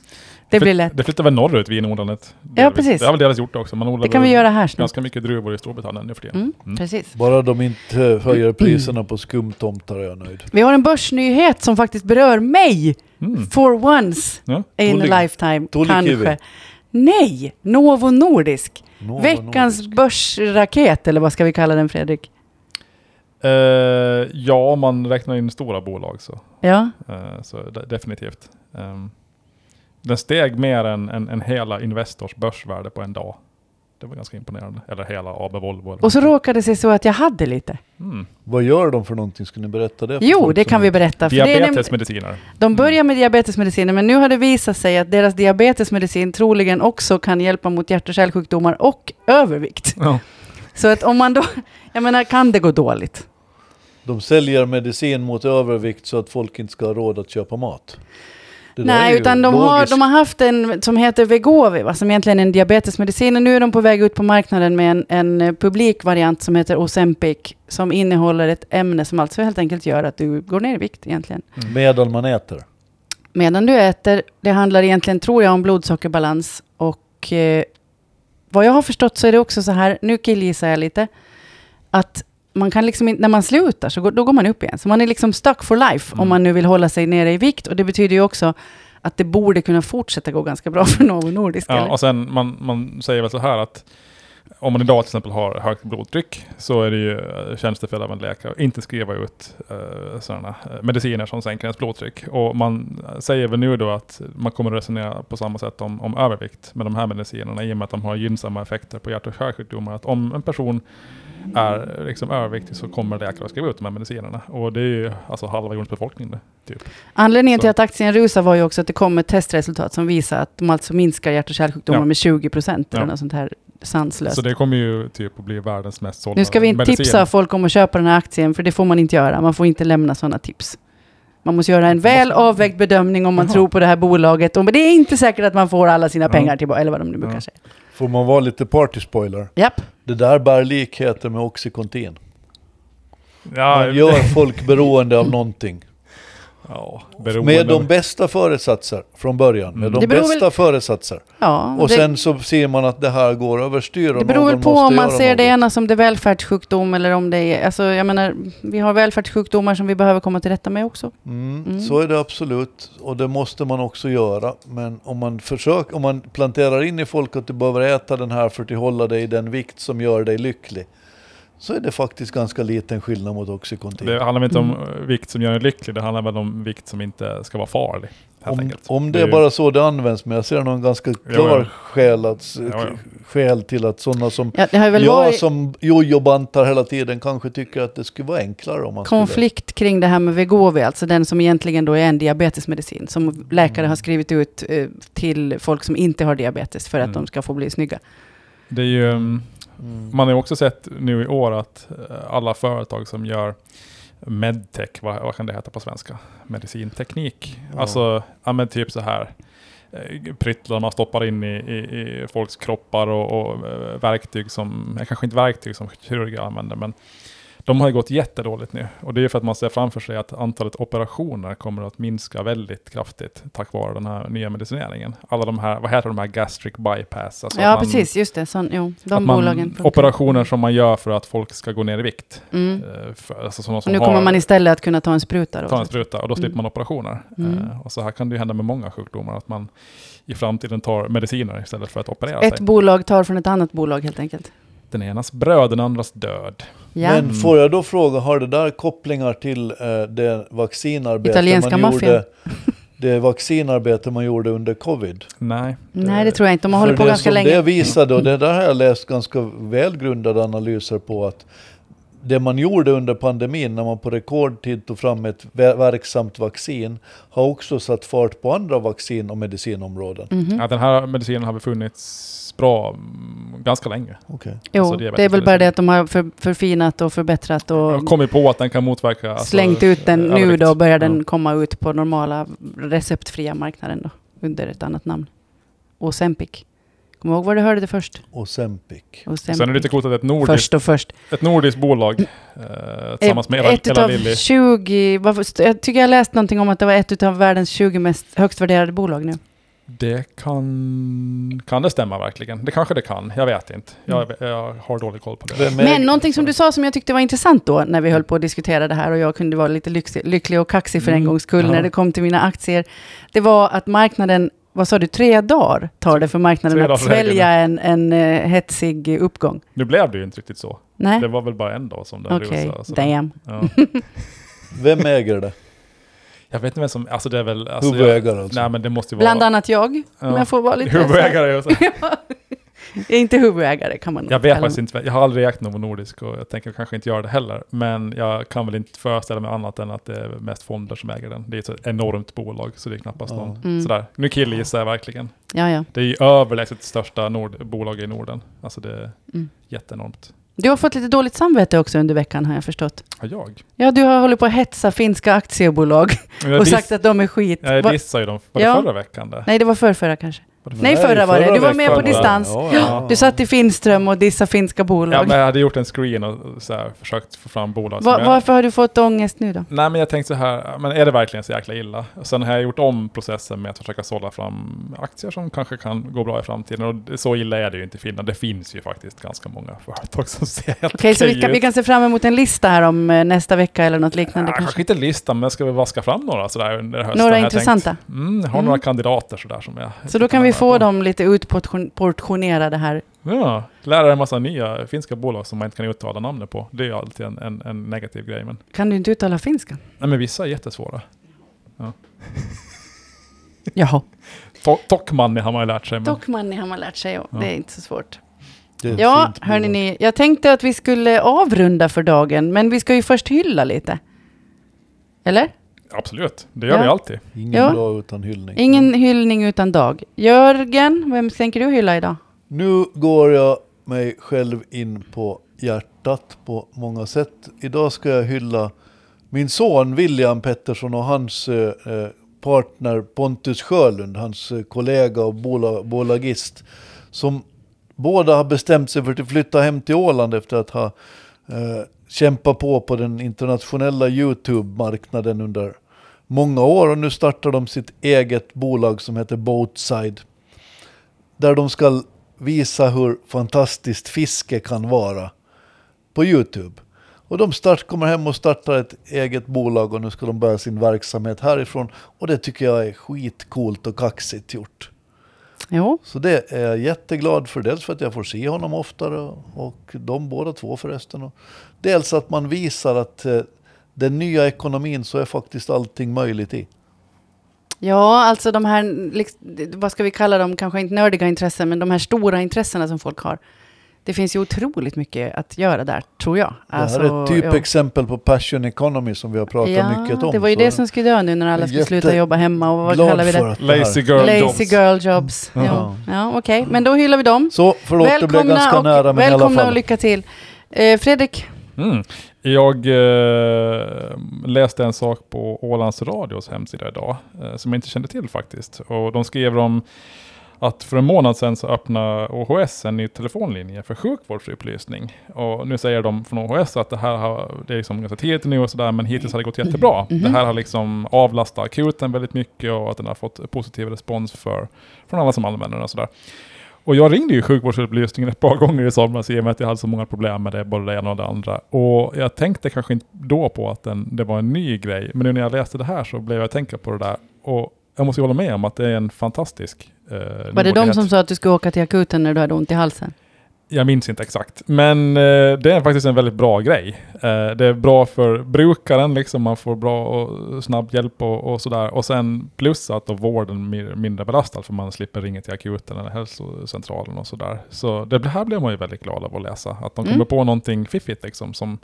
[SPEAKER 1] Det blir
[SPEAKER 2] Flyt-
[SPEAKER 1] lätt.
[SPEAKER 2] Det flyttar väl norrut vinodlandet? delvis.
[SPEAKER 1] precis.
[SPEAKER 2] Det har väl deras gjort också. Man odlar
[SPEAKER 1] Det kan vi
[SPEAKER 2] väl
[SPEAKER 1] göra här snart.
[SPEAKER 2] ganska mycket druvor i Storbritannien nu för tiden.
[SPEAKER 1] Mm, precis.
[SPEAKER 3] Bara de inte höjer priserna på skumtomtar är jag nöjd.
[SPEAKER 1] Vi har en börsnyhet som faktiskt berör mig.
[SPEAKER 2] Mm.
[SPEAKER 1] For once
[SPEAKER 2] Ja.
[SPEAKER 1] in
[SPEAKER 3] Tullig-
[SPEAKER 1] a lifetime,
[SPEAKER 3] Tullig kiwi.
[SPEAKER 1] kanske. Nej, Novo Nordisk.
[SPEAKER 3] Novo
[SPEAKER 1] Veckans
[SPEAKER 3] Nordisk.
[SPEAKER 1] börsraket, eller vad ska vi kalla den Fredrik?
[SPEAKER 2] Eh, ja, om man räknar in stora bolag så,
[SPEAKER 1] Ja,
[SPEAKER 2] eh, så de- definitivt. Ehm, den steg mer än, än, än hela Investors börsvärde på en dag. Det var ganska imponerande. Eller hela AB Volvo. eller
[SPEAKER 1] och så
[SPEAKER 2] någonting.
[SPEAKER 1] råkade det sig så att jag hade lite.
[SPEAKER 2] Mm.
[SPEAKER 3] Vad gör de för någonting? Ska ni berätta det? för
[SPEAKER 1] Jo,
[SPEAKER 3] folk
[SPEAKER 1] det
[SPEAKER 3] som
[SPEAKER 1] kan vi
[SPEAKER 3] inte-
[SPEAKER 1] berätta. För det är nämligen-
[SPEAKER 2] Diabetesmediciner.
[SPEAKER 1] De börjar med diabetesmediciner, men nu har det visat sig att deras diabetesmedicin troligen också kan hjälpa mot hjärt och kärlsjukdomar och övervikt.
[SPEAKER 2] Ja.
[SPEAKER 1] Så att om man då, *laughs* jag menar, kan det gå dåligt?
[SPEAKER 3] De säljer medicin mot övervikt så att folk inte ska ha råd att köpa mat. Det där är
[SPEAKER 1] Nej,
[SPEAKER 3] ju
[SPEAKER 1] utan de har,
[SPEAKER 3] logiskt.
[SPEAKER 1] de har haft en som heter Vegovi, va, som egentligen är en diabetesmedicin. Och nu är de på väg ut på marknaden med en, en eh, publik variant som heter Ozempic, som innehåller ett ämne som alltså helt enkelt gör att du går ner i vikt egentligen.
[SPEAKER 3] Medan man äter.
[SPEAKER 1] Medan du äter, det handlar egentligen, tror jag, om blodsockerbalans. Och eh, vad jag har förstått så är det också så här, nu killgissar jag lite, att man kan liksom inte, när man slutar så går, då går man upp igen. Så man är liksom stuck for life
[SPEAKER 2] Mm.
[SPEAKER 1] om man nu vill hålla sig nere i vikt. Och det betyder ju också att det borde kunna fortsätta gå ganska bra *laughs* för Novo Nordisk.
[SPEAKER 2] Ja,
[SPEAKER 1] Typ, eller?
[SPEAKER 2] och sen man, man säger väl så här att om man idag till exempel har högt blodtryck så är det ju eh, tjänstefel av en läkare att inte skriva ut eh, sådana eh, mediciner som sänker ens blodtryck. Och man säger väl nu då att man kommer att resonera på samma sätt om, om övervikt med de här medicinerna i och med att de har gynnsamma effekter på hjärt och kärlsjukdomar. Att om en person är liksom överviktig så kommer läkare att skriva ut de här medicinerna. Och det är ju alltså halva jordens befolkning det, typ.
[SPEAKER 1] Anledningen
[SPEAKER 2] så.
[SPEAKER 1] till att aktien rusar var ju också att det kom ett testresultat som visar att de alltså minskar hjärt och kärlsjukdomar
[SPEAKER 2] Ja.
[SPEAKER 1] med 20 procent eller
[SPEAKER 2] Ja.
[SPEAKER 1] något sånt här sanslöst.
[SPEAKER 2] Så det kommer ju typ att bli världens mest sålda
[SPEAKER 1] Nu ska vi inte
[SPEAKER 2] medicin.
[SPEAKER 1] tipsa folk om att köpa den här aktien, för det får man inte göra. Man får inte lämna sådana tips. Man måste göra en väl avvägd bedömning om man
[SPEAKER 2] Jaha.
[SPEAKER 1] tror på det här bolaget. Och- Men det är inte säkert att man får alla sina
[SPEAKER 2] Ja.
[SPEAKER 1] pengar tillbaka, eller vad de nu brukar
[SPEAKER 2] Ja.
[SPEAKER 1] säga.
[SPEAKER 3] Får man vara lite party spoiler?
[SPEAKER 1] Japp.
[SPEAKER 3] Det där bär likheter med Oxycontin.
[SPEAKER 2] Ja,
[SPEAKER 3] Man gör folk beroende av någonting.
[SPEAKER 2] Ja, beroende.
[SPEAKER 3] Med de bästa föresatser från början. Med
[SPEAKER 2] Mm.
[SPEAKER 3] de
[SPEAKER 1] Det beror väl-
[SPEAKER 3] bästa föresatser.
[SPEAKER 1] Ja,
[SPEAKER 3] Och
[SPEAKER 1] det,
[SPEAKER 3] sen så ser man att det här går överstyr. och
[SPEAKER 1] det beror väl
[SPEAKER 3] någon
[SPEAKER 1] på
[SPEAKER 3] måste
[SPEAKER 1] om man
[SPEAKER 3] göra
[SPEAKER 1] ser det
[SPEAKER 3] något.
[SPEAKER 1] ena som det är välfärdssjukdom eller om det är... Alltså, jag menar, vi har välfärdssjukdomar som vi behöver komma till rätta med också.
[SPEAKER 3] Mm,
[SPEAKER 1] Mm.
[SPEAKER 3] Så är det absolut. Och det måste man också göra. Men om man, försöker, om man planterar in i folk att du behöver äta den här för att hålla dig i den vikt som gör dig lycklig. Så är det faktiskt ganska liten skillnad mot Oxycontin.
[SPEAKER 2] Det handlar väl inte om
[SPEAKER 3] Mm.
[SPEAKER 2] eh, vikt som gör en lycklig, det handlar väl om vikt som inte ska vara farlig. Helt
[SPEAKER 3] om,
[SPEAKER 2] enkelt.
[SPEAKER 3] om det
[SPEAKER 2] är
[SPEAKER 3] är
[SPEAKER 2] ju-
[SPEAKER 3] bara så det används. Men jag ser någon ganska
[SPEAKER 2] ja.
[SPEAKER 3] klar Skäl, att,
[SPEAKER 2] ja.
[SPEAKER 3] skäl till att sådana som
[SPEAKER 1] Ja, det har väl
[SPEAKER 3] jag
[SPEAKER 1] varit
[SPEAKER 3] som jojobantar hela tiden kanske tycker att det skulle vara enklare om man skulle...
[SPEAKER 1] konflikt kring det här med Vegovi, alltså den som egentligen då är en diabetesmedicin, som läkare har skrivit ut eh, till folk som inte har diabetes för att
[SPEAKER 2] Mm.
[SPEAKER 1] de ska få bli snygga.
[SPEAKER 2] det är ju, mm,
[SPEAKER 3] Mm.
[SPEAKER 2] man har ju också sett nu i år att eh, alla företag som gör medtech, vad, vad kan det heta på svenska? Medicinteknik.
[SPEAKER 3] Ja.
[SPEAKER 2] Alltså, ja men typ så här eh, pryttlar man stoppar in i, i, i folks kroppar och, och eh, verktyg som, eh, kanske inte verktyg som kirurger använder, men de har ju gått jättedåligt nu. Och det är för att man ser framför sig att antalet operationer kommer att minska väldigt kraftigt tack vare den här nya medicineringen. Alla de här, vad heter de här gastric bypass? Alltså
[SPEAKER 1] ja,
[SPEAKER 2] att man-
[SPEAKER 1] precis. Just det. Sån, jo,
[SPEAKER 2] att
[SPEAKER 1] de
[SPEAKER 2] man-
[SPEAKER 1] bolagen.
[SPEAKER 2] Operationer som man gör för att folk ska gå ner i vikt.
[SPEAKER 1] Mm.
[SPEAKER 2] Eh, För, alltså sådana
[SPEAKER 1] Och
[SPEAKER 2] som
[SPEAKER 1] nu
[SPEAKER 2] har,
[SPEAKER 1] kommer man istället att kunna ta en spruta. Då,
[SPEAKER 2] ta en spruta och då slipper
[SPEAKER 1] Mm.
[SPEAKER 2] man operationer.
[SPEAKER 1] Mm.
[SPEAKER 2] Eh, Och så här kan det ju hända med många sjukdomar, att man i framtiden tar mediciner istället för att operera
[SPEAKER 1] Ett
[SPEAKER 2] sig.
[SPEAKER 1] bolag tar från ett annat bolag helt enkelt.
[SPEAKER 2] Den enas bröd, den andras död.
[SPEAKER 1] Ja.
[SPEAKER 3] Men får jag då fråga, har det där kopplingar till eh, det vaccinarbete
[SPEAKER 1] Italienska
[SPEAKER 3] man
[SPEAKER 1] maffian.
[SPEAKER 3] gjorde? Det vaccinarbete man gjorde under covid?
[SPEAKER 2] Nej.
[SPEAKER 1] Nej, det tror jag inte. De har hållit
[SPEAKER 3] eh, För
[SPEAKER 1] på
[SPEAKER 3] det
[SPEAKER 1] ganska
[SPEAKER 3] som
[SPEAKER 1] länge.
[SPEAKER 3] Det visade, och det där har jag läst ganska välgrundade analyser på, att det man gjorde under pandemin när man på rekordtid tog fram ett ver- verksamt vaccin har också satt fart på andra vaccin och medicinområden.
[SPEAKER 1] Mhm.
[SPEAKER 2] Ja, alltså den här medicinen har befunnits bra mm, ganska länge.
[SPEAKER 3] Okej.
[SPEAKER 1] Jo,
[SPEAKER 2] alltså
[SPEAKER 1] det är väl
[SPEAKER 2] diabetesmedicin.
[SPEAKER 1] bara det att de har för, förfinat och förbättrat
[SPEAKER 2] Jag
[SPEAKER 1] och
[SPEAKER 2] har kommit på att den kan motverka... alltså,
[SPEAKER 1] slängt ut den
[SPEAKER 2] eh,
[SPEAKER 1] nu
[SPEAKER 2] övervikt.
[SPEAKER 1] då. Börjar den
[SPEAKER 2] Ja.
[SPEAKER 1] komma ut på normala receptfria marknaden då, under ett annat namn. Ozempic. Kom ihåg var du hörde det först.
[SPEAKER 3] Ozempic.
[SPEAKER 1] Och sen,
[SPEAKER 2] Sen är det lite coolt att ett nordiskt,
[SPEAKER 1] Först och först.
[SPEAKER 2] ett nordiskt bolag eh, tillsammans med Ella,
[SPEAKER 1] ett
[SPEAKER 2] Ella
[SPEAKER 1] utav
[SPEAKER 2] Lilly.
[SPEAKER 1] 20, varför- st- jag tycker jag läst någonting om att det var ett utav världens 20 mest högst värderade bolag nu.
[SPEAKER 2] Det kan... Kan det stämma verkligen? Det kanske det kan. Jag vet inte.
[SPEAKER 1] Mm.
[SPEAKER 2] Jag, jag har dålig koll på det.
[SPEAKER 3] Vem
[SPEAKER 1] Men
[SPEAKER 3] äger-
[SPEAKER 1] någonting som du sa som jag tyckte var intressant då, när vi höll på att diskutera det här och jag kunde vara lite lyxig, lycklig och kaxig för en
[SPEAKER 2] Mm.
[SPEAKER 1] gångs skull
[SPEAKER 2] Ja.
[SPEAKER 1] när det kom till mina aktier, det var att marknaden, vad sa du, tre dagar tar det för
[SPEAKER 2] Tre
[SPEAKER 1] marknaden
[SPEAKER 2] dagar
[SPEAKER 1] att
[SPEAKER 2] för vägen.
[SPEAKER 1] svälja en, en eh, hetsig eh, uppgång?
[SPEAKER 2] Nu blev det ju inte riktigt så.
[SPEAKER 1] Nej?
[SPEAKER 2] Det var väl bara en dag som den
[SPEAKER 1] Okej,
[SPEAKER 2] rusade. så-
[SPEAKER 1] damn.
[SPEAKER 2] Ja.
[SPEAKER 3] Vem äger det?
[SPEAKER 2] Jag vet inte vem som... Alltså det är väl... Alltså, jag,
[SPEAKER 3] Huvudägare alltså.
[SPEAKER 2] nej men det måste ju vara...
[SPEAKER 1] Bland annat jag, om
[SPEAKER 2] Ja.
[SPEAKER 1] jag får vara lite...
[SPEAKER 2] Huvudägare. och så.
[SPEAKER 1] Jag är *laughs* inte huvudägare kan man nog
[SPEAKER 2] Jag vet
[SPEAKER 1] kalla
[SPEAKER 2] faktiskt
[SPEAKER 1] mig.
[SPEAKER 2] inte. Jag har aldrig ägt Novo Nordisk och jag tänker kanske inte göra det heller. Men jag kan väl inte föreställa mig annat än att det är mest fonder som äger den. Det är ett så enormt bolag så det är knappast
[SPEAKER 3] Ja.
[SPEAKER 2] någon.
[SPEAKER 1] Mm.
[SPEAKER 2] Sådär. Nu killgissar jag verkligen.
[SPEAKER 1] Ja, ja.
[SPEAKER 2] Det är ju överlägset största nord- bolag i Norden. Alltså det är
[SPEAKER 1] Mm.
[SPEAKER 2] jätteenormt.
[SPEAKER 1] Du har fått lite dåligt samvete också under veckan har jag förstått.
[SPEAKER 2] Har jag?
[SPEAKER 1] Ja, du har hållit på att hetsa finska aktiebolag
[SPEAKER 2] Men Jag,
[SPEAKER 1] och
[SPEAKER 2] dis-
[SPEAKER 1] sagt att de är skit.
[SPEAKER 2] Ja, jag
[SPEAKER 1] Va-
[SPEAKER 2] dissade ju dem. Var det
[SPEAKER 1] Ja.
[SPEAKER 2] förra veckan? Det?
[SPEAKER 1] Nej, det var förra, förra kanske.
[SPEAKER 2] Var det
[SPEAKER 1] Nej, förra var det. Du var med på
[SPEAKER 3] veckan.
[SPEAKER 1] distans.
[SPEAKER 3] Ja,
[SPEAKER 2] Ja.
[SPEAKER 1] Du satt i Finström och dissade finska
[SPEAKER 2] Ja,
[SPEAKER 1] bolag.
[SPEAKER 2] men jag hade gjort en screen och så här, försökt få fram bolag. som
[SPEAKER 1] Va-
[SPEAKER 2] jag-
[SPEAKER 1] varför har du fått ångest nu då?
[SPEAKER 2] Nej, men jag tänkte så här, men är det verkligen så jäkla illa? Och Sen har jag gjort om processen med att försöka sålla fram aktier som kanske kan gå bra i framtiden. Och det- så illa är det ju inte i Finland. Det finns ju faktiskt ganska många företag som *laughs* ser helt
[SPEAKER 1] Okej, så vi kan,
[SPEAKER 2] ut.
[SPEAKER 1] vi kan se fram emot en lista här om eh, nästa vecka eller något liknande
[SPEAKER 2] Ja, kanske.
[SPEAKER 1] kanske.
[SPEAKER 2] inte en lista, men jag ska väl vaska fram några sådär under hösten. har
[SPEAKER 1] Några
[SPEAKER 2] jag
[SPEAKER 1] intressanta.
[SPEAKER 2] tänkt. Mm, jag har
[SPEAKER 1] Mm.
[SPEAKER 2] några kandidater sådär som jag...
[SPEAKER 1] Så då kan vi få dem lite utportionerade här.
[SPEAKER 2] Ja, lära dig en massa nya finska bolag som man inte kan uttala namnet på. Det är ju alltid en, en, en negativ grej. Men,
[SPEAKER 1] Kan du inte uttala finska?
[SPEAKER 2] nej, men vissa är jättesvåra.
[SPEAKER 1] Jaha.
[SPEAKER 2] To- Tokmanni har man ju lärt sig. Men,
[SPEAKER 1] Dockmanni har man lärt sig och
[SPEAKER 2] Ja.
[SPEAKER 1] det är inte så svårt.
[SPEAKER 3] Det är ett
[SPEAKER 1] Ja,
[SPEAKER 3] fint
[SPEAKER 1] hörni
[SPEAKER 3] bolag.
[SPEAKER 1] ni, jag tänkte att vi skulle avrunda för dagen, men vi ska ju först hylla lite.
[SPEAKER 2] Mm.
[SPEAKER 1] Eller?
[SPEAKER 2] absolut, det gör
[SPEAKER 1] Ja.
[SPEAKER 2] vi alltid.
[SPEAKER 3] Ingen
[SPEAKER 1] Ja.
[SPEAKER 3] dag utan hyllning.
[SPEAKER 1] Ingen hyllning utan dag. Jörgen, vem tänker du hylla idag?
[SPEAKER 3] Nu går jag mig själv in på hjärtat på många sätt. Idag ska jag hylla min son William Pettersson och hans eh, eh, partner Pontus Sjölund, hans eh, kollega och bola, bolagist, som båda har bestämt sig för att flytta hem till Åland efter att ha eh, kämpat på på den internationella YouTube-marknaden under många år. Och nu startar de sitt eget bolag som heter Boatside där de ska visa hur fantastiskt fiske kan vara på Youtube. Och de start, kommer hem och startar ett eget bolag och nu ska de börja sin verksamhet härifrån. Och det tycker jag är skitcoolt och kaxigt gjort.
[SPEAKER 1] Jo,
[SPEAKER 3] Så det är jag jätteglad för. Dels för att jag får se honom oftare och de båda två förresten. Och dels att man visar att eh, den nya ekonomin så är faktiskt allting möjligt i.
[SPEAKER 1] ja, alltså de här, liks- vad ska vi kalla dem, kanske inte nördiga intressen, men de här stora intressena som folk har. Det finns ju otroligt mycket att göra där, tror jag. Alltså,
[SPEAKER 3] det här är ett
[SPEAKER 1] jo.
[SPEAKER 3] typexempel på passion economy som vi har pratat mycket om.
[SPEAKER 1] det var ju
[SPEAKER 3] Så-
[SPEAKER 1] det som skulle dö nu när alla skulle
[SPEAKER 3] Jätte-
[SPEAKER 1] sluta jobba hemma och vad
[SPEAKER 3] glad
[SPEAKER 1] kallar vi
[SPEAKER 3] för
[SPEAKER 1] det?
[SPEAKER 3] att det här-
[SPEAKER 2] Lazy girl
[SPEAKER 1] Lazy
[SPEAKER 2] jobs.
[SPEAKER 1] girl jobs. Jo.
[SPEAKER 3] Ja.
[SPEAKER 1] Ja, okej, men då hyllar vi dem.
[SPEAKER 3] Så förlåt, det blev ganska
[SPEAKER 1] och,
[SPEAKER 3] nära men i alla
[SPEAKER 1] välkomna och
[SPEAKER 3] fall.
[SPEAKER 1] lycka till. Eh, Fredrik,
[SPEAKER 2] Mm. Jag eh, läste en sak på Ålands Radios hemsida idag, eh, som jag inte kände till faktiskt. Och de skrev om att för en månad sedan så öppnade OHS en ny telefonlinje för sjukvårdsupplysning. Och nu säger de från OHS att det här har, det är liksom ganska tidigt nu och sådär, men hittills har det gått jättebra.
[SPEAKER 1] Mhm.
[SPEAKER 2] Det här har liksom avlastat akuten väldigt mycket och att den har fått positiv respons för, från alla som använder den och sådär. Och jag ringde ju sjukvårdsupplysningen ett par gånger i somras i och med att jag hade så många problem med det, både det ena och det andra. Och jag tänkte kanske inte då på att den, det var en ny grej, men nu när jag läste det här så blev jag att tänka på det där. Och jag måste ju hålla med om att det är en fantastisk eh,
[SPEAKER 1] var det de
[SPEAKER 2] nymodighet.
[SPEAKER 1] som sa att du skulle åka till akuten när du hade ont i halsen?
[SPEAKER 2] Jag minns inte exakt, men eh, det är faktiskt en väldigt bra grej. Eh, det är bra för brukaren, liksom, man får bra och snabb hjälp och, och sådär. Och sen plus att då vården blir mindre belastad för man slipper ringa till akuten eller hälsocentralen och sådär. Så det här blev man ju väldigt glad av att läsa, att de
[SPEAKER 1] Mm.
[SPEAKER 2] kommer på någonting fiffigt liksom, som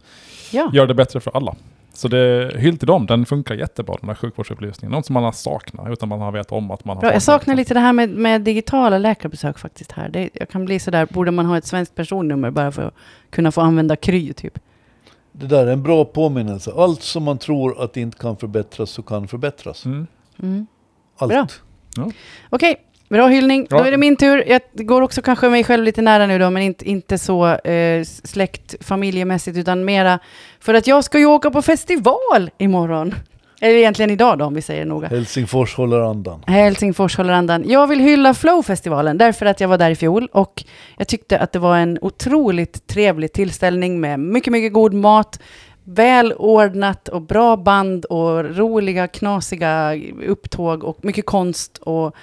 [SPEAKER 1] Ja.
[SPEAKER 2] gör det bättre för alla. Så det hyll till dem, den funkar jättebra den här sjukvårdsupplysningen. Något som man har saknat utan man har vetat om att man har
[SPEAKER 1] Bra. Jag
[SPEAKER 2] fått
[SPEAKER 1] saknar
[SPEAKER 2] det.
[SPEAKER 1] lite det här med, med digitala läkarbesök faktiskt här. Det, jag kan bli sådär, borde man ha ett svenskt personnummer bara för att kunna få använda Kry typ?
[SPEAKER 3] Det där är en bra påminnelse. Allt som man tror att inte kan förbättras så kan förbättras.
[SPEAKER 2] Mm.
[SPEAKER 1] Mm.
[SPEAKER 3] Allt.
[SPEAKER 1] Bra. Okej, Bra hyllning.
[SPEAKER 2] Ja.
[SPEAKER 1] Då är det min tur. Jag går också kanske mig själv lite nära nu då, men inte, inte så eh, släkt, familjemässigt, utan mera för att jag ska ju åka på festival imorgon. Eller egentligen idag då, om vi säger det noga.
[SPEAKER 3] Helsingfors håller andan.
[SPEAKER 1] Helsingfors håller andan. Jag vill hylla Flow-festivalen därför att jag var där i fjol och jag tyckte att det var en otroligt trevlig tillställning med mycket, mycket god mat, välordnat och bra band och roliga, knasiga upptåg och mycket konst och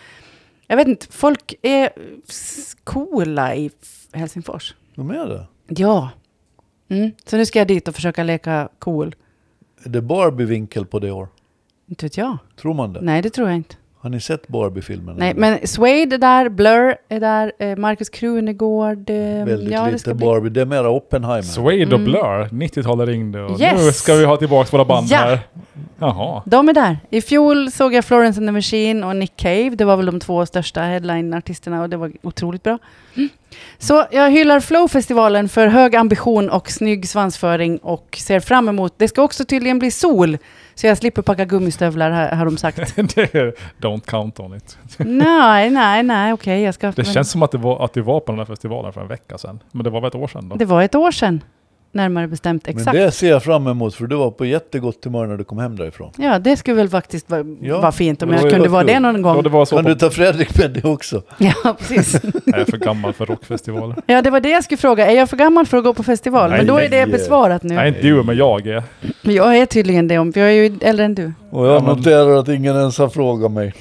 [SPEAKER 1] jag vet inte, folk är s- coola i F- Helsingfors.
[SPEAKER 3] De är det.
[SPEAKER 1] Ja. Mm. Så nu ska jag dit och försöka leka cool.
[SPEAKER 3] Är det Barbie-vinkel på det år?
[SPEAKER 1] Inte vet jag.
[SPEAKER 3] Tror man det?
[SPEAKER 1] Nej, det tror jag inte.
[SPEAKER 3] Har ni sett Barbie-filmen?
[SPEAKER 1] Nej, men Suede är där, Blur är där, eh, Markus Krunegård. Eh,
[SPEAKER 3] Väldigt
[SPEAKER 1] ja, det
[SPEAKER 3] lite
[SPEAKER 1] ska bli-
[SPEAKER 3] Barbie. Det är mera Oppenheimer.
[SPEAKER 2] Suede och
[SPEAKER 1] Mm.
[SPEAKER 2] Blur, 90-talet ringde och nu
[SPEAKER 1] Yes!
[SPEAKER 2] ska vi ha tillbaka våra band
[SPEAKER 1] Ja!
[SPEAKER 2] här. Jaha. *laughs*
[SPEAKER 1] De är där. I fjol såg jag Florence and the Machine och Nick Cave. Det var väl de två största headline-artisterna och det var otroligt bra. Mm. Så jag hyllar Flow-festivalen för hög ambition och snygg svansföring och ser fram emot. Det ska också tydligen bli sol, så jag slipper packa gummistövlar har, har de
[SPEAKER 3] *laughs*
[SPEAKER 1] sagt.
[SPEAKER 2] Det är- Don't count on it.
[SPEAKER 1] nej, nej, nej, okej, jag ska...
[SPEAKER 2] Det
[SPEAKER 1] men-
[SPEAKER 2] känns som att det, var, att det var på den här festivalen för en vecka sedan. Men det var väl ett år sedan då?
[SPEAKER 1] det var ett år sedan, närmare bestämt. Exakt.
[SPEAKER 3] Men det ser jag fram emot för du var på jättegott humör när du kom hem därifrån.
[SPEAKER 1] Ja, det skulle väl faktiskt vara
[SPEAKER 3] Ja,
[SPEAKER 1] vara fint om
[SPEAKER 2] det
[SPEAKER 1] jag
[SPEAKER 2] var ju
[SPEAKER 1] kunde vara
[SPEAKER 3] kul.
[SPEAKER 1] det någon
[SPEAKER 2] Ja,
[SPEAKER 1] gång.
[SPEAKER 2] det var så
[SPEAKER 3] Kan
[SPEAKER 2] på,
[SPEAKER 3] du ta Fredrik med dig också?
[SPEAKER 1] *laughs* Ja, precis.
[SPEAKER 2] jag är för gammal för rockfestivaler.
[SPEAKER 1] Ja, det var det jag skulle fråga. Är jag för gammal för att gå på festival?
[SPEAKER 2] Nej,
[SPEAKER 1] Men då är det
[SPEAKER 3] nej.
[SPEAKER 1] besvarat nu.
[SPEAKER 2] Nej, inte du, men jag är.
[SPEAKER 1] Men jag är tydligen det, om, jag är ju äldre än du.
[SPEAKER 3] Och jag
[SPEAKER 2] Ja, men-
[SPEAKER 3] noterar att ingen ens har frågat mig.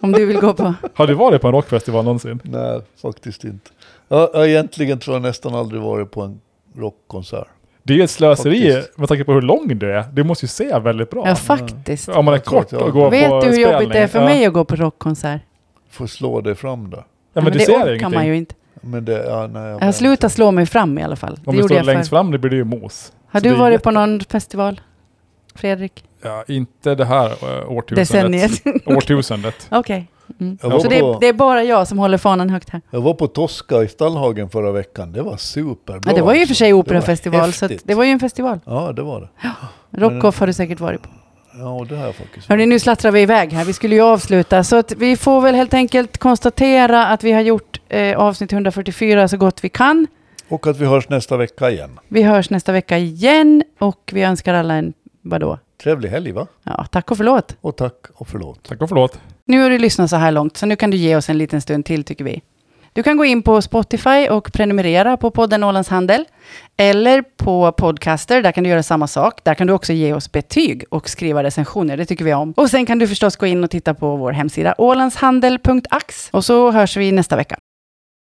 [SPEAKER 1] Om du vill gå
[SPEAKER 2] *laughs*
[SPEAKER 1] på...
[SPEAKER 2] Har du varit på en rockfestival någonsin?
[SPEAKER 1] typ.
[SPEAKER 3] Nej, faktiskt inte. Jag, jag egentligen tror jag nästan aldrig varit på en rockkonsert.
[SPEAKER 2] Det är ju ett slöseri
[SPEAKER 3] Faktiskt.
[SPEAKER 2] med tanke på hur lång du är. Du måste ju se väldigt bra.
[SPEAKER 1] Ja, faktiskt.
[SPEAKER 2] Om man är
[SPEAKER 3] Jag tror att
[SPEAKER 2] kort
[SPEAKER 3] jag-
[SPEAKER 2] och går på
[SPEAKER 1] Vet du hur jobbigt
[SPEAKER 2] spelning.
[SPEAKER 1] det är för
[SPEAKER 2] Ja.
[SPEAKER 1] mig att gå på rockkonsert?
[SPEAKER 3] Får slå dig fram där.
[SPEAKER 2] Ja, men,
[SPEAKER 1] Nej,
[SPEAKER 2] du
[SPEAKER 1] det
[SPEAKER 2] ser
[SPEAKER 1] orkar
[SPEAKER 2] ingenting.
[SPEAKER 1] man ju inte.
[SPEAKER 3] Men det, ja, nej, jag
[SPEAKER 1] Jag
[SPEAKER 3] vet
[SPEAKER 1] slutar slå mig fram i alla fall.
[SPEAKER 2] Om
[SPEAKER 1] det
[SPEAKER 2] du
[SPEAKER 1] gjorde
[SPEAKER 2] står
[SPEAKER 1] jag förr.
[SPEAKER 2] längst fram, det blir det ju mos.
[SPEAKER 1] Har
[SPEAKER 2] så det
[SPEAKER 1] du
[SPEAKER 2] är
[SPEAKER 1] varit
[SPEAKER 2] jätte-
[SPEAKER 1] på någon festival? Fredrik?
[SPEAKER 2] Ja, inte det här eh, årtusendet.
[SPEAKER 1] Decenniet?
[SPEAKER 2] årtusendet.
[SPEAKER 1] *laughs* Okej. Mm.
[SPEAKER 3] Jag
[SPEAKER 1] Så
[SPEAKER 3] var,
[SPEAKER 1] det är,
[SPEAKER 3] på,
[SPEAKER 1] det är bara jag som håller fanan högt här?
[SPEAKER 3] jag var på Tosca i Stallhagen förra veckan. Det var superbra.
[SPEAKER 1] Ja, det var ju i och för sig
[SPEAKER 3] alltså.
[SPEAKER 1] operafestival, så att
[SPEAKER 3] häftigt.
[SPEAKER 1] det var ju en festival.
[SPEAKER 3] Ja, det var det.
[SPEAKER 1] Rockoff har du säkert varit på.
[SPEAKER 3] Ja, och det har jag faktiskt.
[SPEAKER 1] Hörrni, nu slattrar vi iväg här. Vi skulle ju avsluta. Så att vi får väl helt enkelt konstatera att vi har gjort eh, avsnitt 144 så gott vi kan.
[SPEAKER 3] Och att vi hörs nästa vecka igen.
[SPEAKER 1] Vi hörs nästa vecka igen och vi önskar alla en, vadå?
[SPEAKER 3] Trevlig helg va?
[SPEAKER 1] Ja, tack och förlåt.
[SPEAKER 3] Och tack och förlåt.
[SPEAKER 2] Tack och förlåt.
[SPEAKER 1] Nu har du lyssnat så här långt, så nu kan du ge oss en liten stund till tycker vi. Du kan gå in på Spotify och prenumerera på podden Ålands Handel. Eller på Podcaster, där kan du göra samma sak. Där kan du också ge oss betyg och skriva recensioner, det tycker vi om. Och sen kan du förstås gå in och titta på vår hemsida ålandshandel.ax. Och så hörs vi nästa vecka.